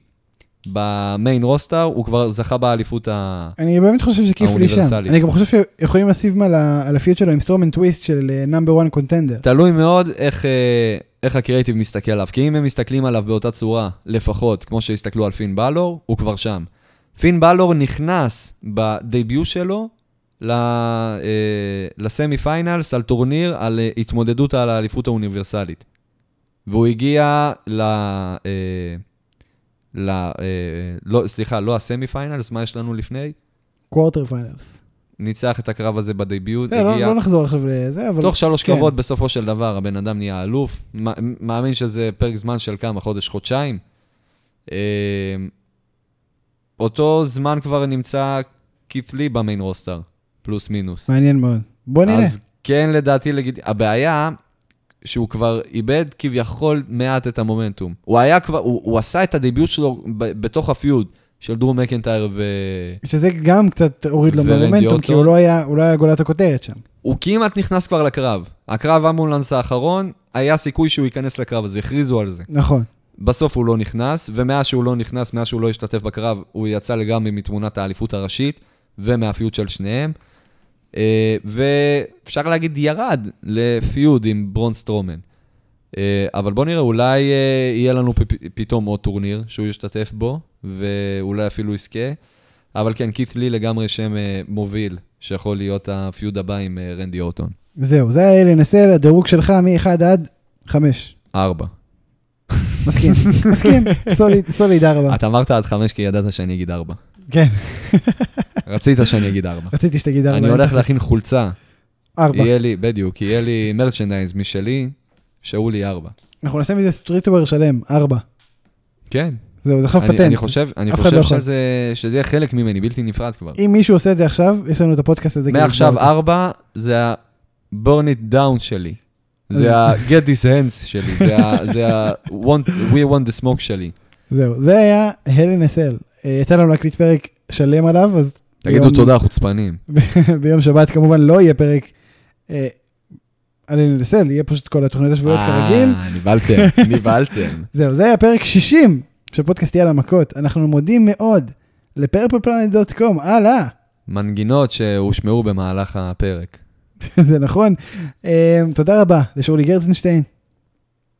במיין רוסטר, הוא כבר זכה באליפות ה...
אני באמת חושב שכיפלי שם.
האוניברסלית.
אני גם חושב שיכולים לשים על ה- על הפיוט שלו עם סטרומן טוויסט של אה, נאמבר 1 קונטנדר.
תלוי מאוד איך, אה, איך הקריאיטיב מסתכל עליו, כי אם הם מסתכלים עליו באותה צורה, לפחות, כמו שהסתכלו על פין בלור, הוא כבר שם. פין בלור נכנס בדייביוט שלו ל, אה, לסמי פיינלס על טורניר על אה, התמודדות על האליפות האוניברסלית. והוא הגיע ל... אה, ל... אה, לא, סליחה, לא הסמי פיינלס, מה יש לנו לפני?
קוורטר פיינלס.
ניצח את הקרב הזה בדייביוט,
לא לא נחזור עכשיו לזה, אבל...
תוך שלוש
כן.
קרבות בסופו של דבר, הבן אדם נהיה אלוף. מ- מאמין שזה פרק זמן של כמה, חודש, חודשיים. אה, אותו זמן כבר נמצא כתלי במיין רוסטר, פלוס מינוס.
מעניין מאוד. בוא נראה.
אז כן, לדעתי, לגיד... הבעיה, שהוא כבר איבד כביכול מעט את המומנטום. הוא היה כבר, הוא, הוא עשה את הדביוט שלו ב- בתוך הפיוד של דרום מקנטייר ו...
שזה גם קצת הוריד לו
ורנדי
במומנטום, כי הוא
אורטון.
לא היה- הוא לא היה גולת הכותרת שם.
הוא כמעט נכנס כבר לקרב. הקרב אמבולנס האחרון, היה סיכוי שהוא ייכנס לקרב הזה, הכריזו על זה.
נכון.
בסוף הוא לא נכנס, ומאז שהוא לא נכנס, מאז שהוא לא השתתף בקרב, הוא יצא לגמרי מתמונת האליפות הראשית ומהפיוד של שניהם. אה, ואפשר להגיד ירד לפיוד עם ברון סטרומן. אה, אבל בוא נראה, אולי אה, יהיה לנו פ- פתאום עוד טורניר שהוא ישתתף בו, ואולי אפילו יזכה. אבל כן, קיץ לי לגמרי שם אה, מוביל, שיכול להיות הפיוד הבא עם אה, רנדי אורטון.
זהו, זה היה אלי נסל, הדירוג שלך מ-1 עד 5.
ארבע.
מסכים, מסכים, סוליד, סוליד ארבע.
אתה אמרת עד חמש כי ידעת שאני אגיד ארבע.
כן,
רצית שאני אגיד ארבע.
רציתי שתגיד ארבע.
אני הולך להכין חולצה.
ארבע.
יהיה לי, בדיוק, יהיה לי מרצ'נדייז משלי, שהוא לי ארבע.
אנחנו נעשה מזה סטריטוור שלם, ארבע.
כן.
זהו, זה חייב
אני-
פטנט.
אני חושב, אני
אף אחד
חושב
לא יכול.
שזה, שזה יהיה חלק ממני, בלתי נפרד כבר.
אם מישהו עושה את זה עכשיו, יש לנו את הפודקאסט הזה. כאילו כדי
מעכשיו
לסגור אותו.
ארבע זה ה-burn it down שלי.
אז-
זה ה-get this hands שלי, זה ה- זה ה-we want the smoke שלי.
זהו, זה היה הלן אסל. אה, יצא לנו להקליט פרק שלם עליו, אז
תגידו
יום-
תודה, חוצפנים.
ביום שבת כמובן לא יהיה פרק אה, על הלן אסל, יהיה פשוט כל התוכניות השבועיות כרגיל.
אה, נבהלתם, נבהלתם.
זהו, זה היה פרק 60 של פודקאסט יאללה מכות. אנחנו מודים מאוד לפרפלפלנט.קום, הלאה.
מנגינות שהושמעו במהלך הפרק.
זה נכון. אה, תודה רבה לשאולי גרצנשטיין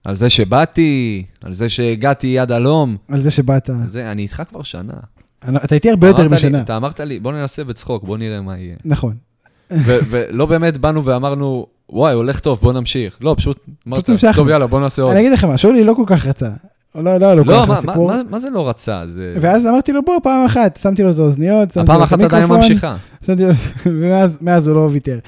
על זה שבאתי, על זה שהגעתי יד הלום.
על זה שבאת.
על זה, אני איתך כבר שנה.
אני- אתה איתי הרבה יותר
אמרת לי-
משנה.
אתה אמרת לי, בוא ננסה בצחוק, בוא נראה מה יהיה.
נכון.
ו- ולא באמת באנו ואמרנו, וואי, הולך טוב, בוא נמשיך. לא, פשוט אמרת,
המשכנו.
טוב, יאללה, בוא נעשה עוד.
אני אגיד לכם מה, שאולי לא כל כך רצה. לא, לא, לא כל
לא,
כך
מה-
לסיפור.
מה- מה- מה זה לא רצה? זה...
ואז אמרתי לו, בוא, פעם אחת. שמתי לו את האוזניות, שמתי
הפעם
לו את
אחת עדיין
המיקרופון,
ממשיכה.
שמתי לו- ומאז מאז הוא לא ויתר.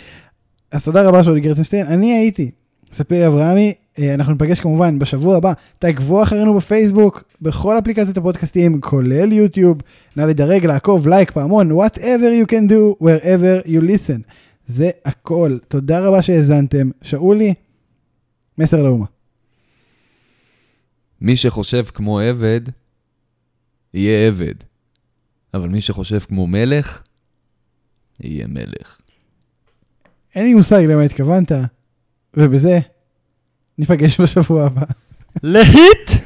אז תודה רבה שאולי גרצנשטיין. אני הייתי ספיר אברהמי, אה, אנחנו ניפגש כמובן בשבוע הבא. תעקבו אחרינו בפייסבוק, בכל אפליקציות הפודקאסטיים, כולל יוטיוב. נא לדרג, לעקוב, לייק, פעמון, whatever you can do, wherever you listen. זה הכל. תודה רבה שהאזנתם. שאולי, מסר לאומה.
מי שחושב כמו עבד, יהיה עבד. אבל מי שחושב כמו מלך, יהיה מלך.
אין לי מושג למה התכוונת, ובזה ניפגש בשבוע הבא.
להיט!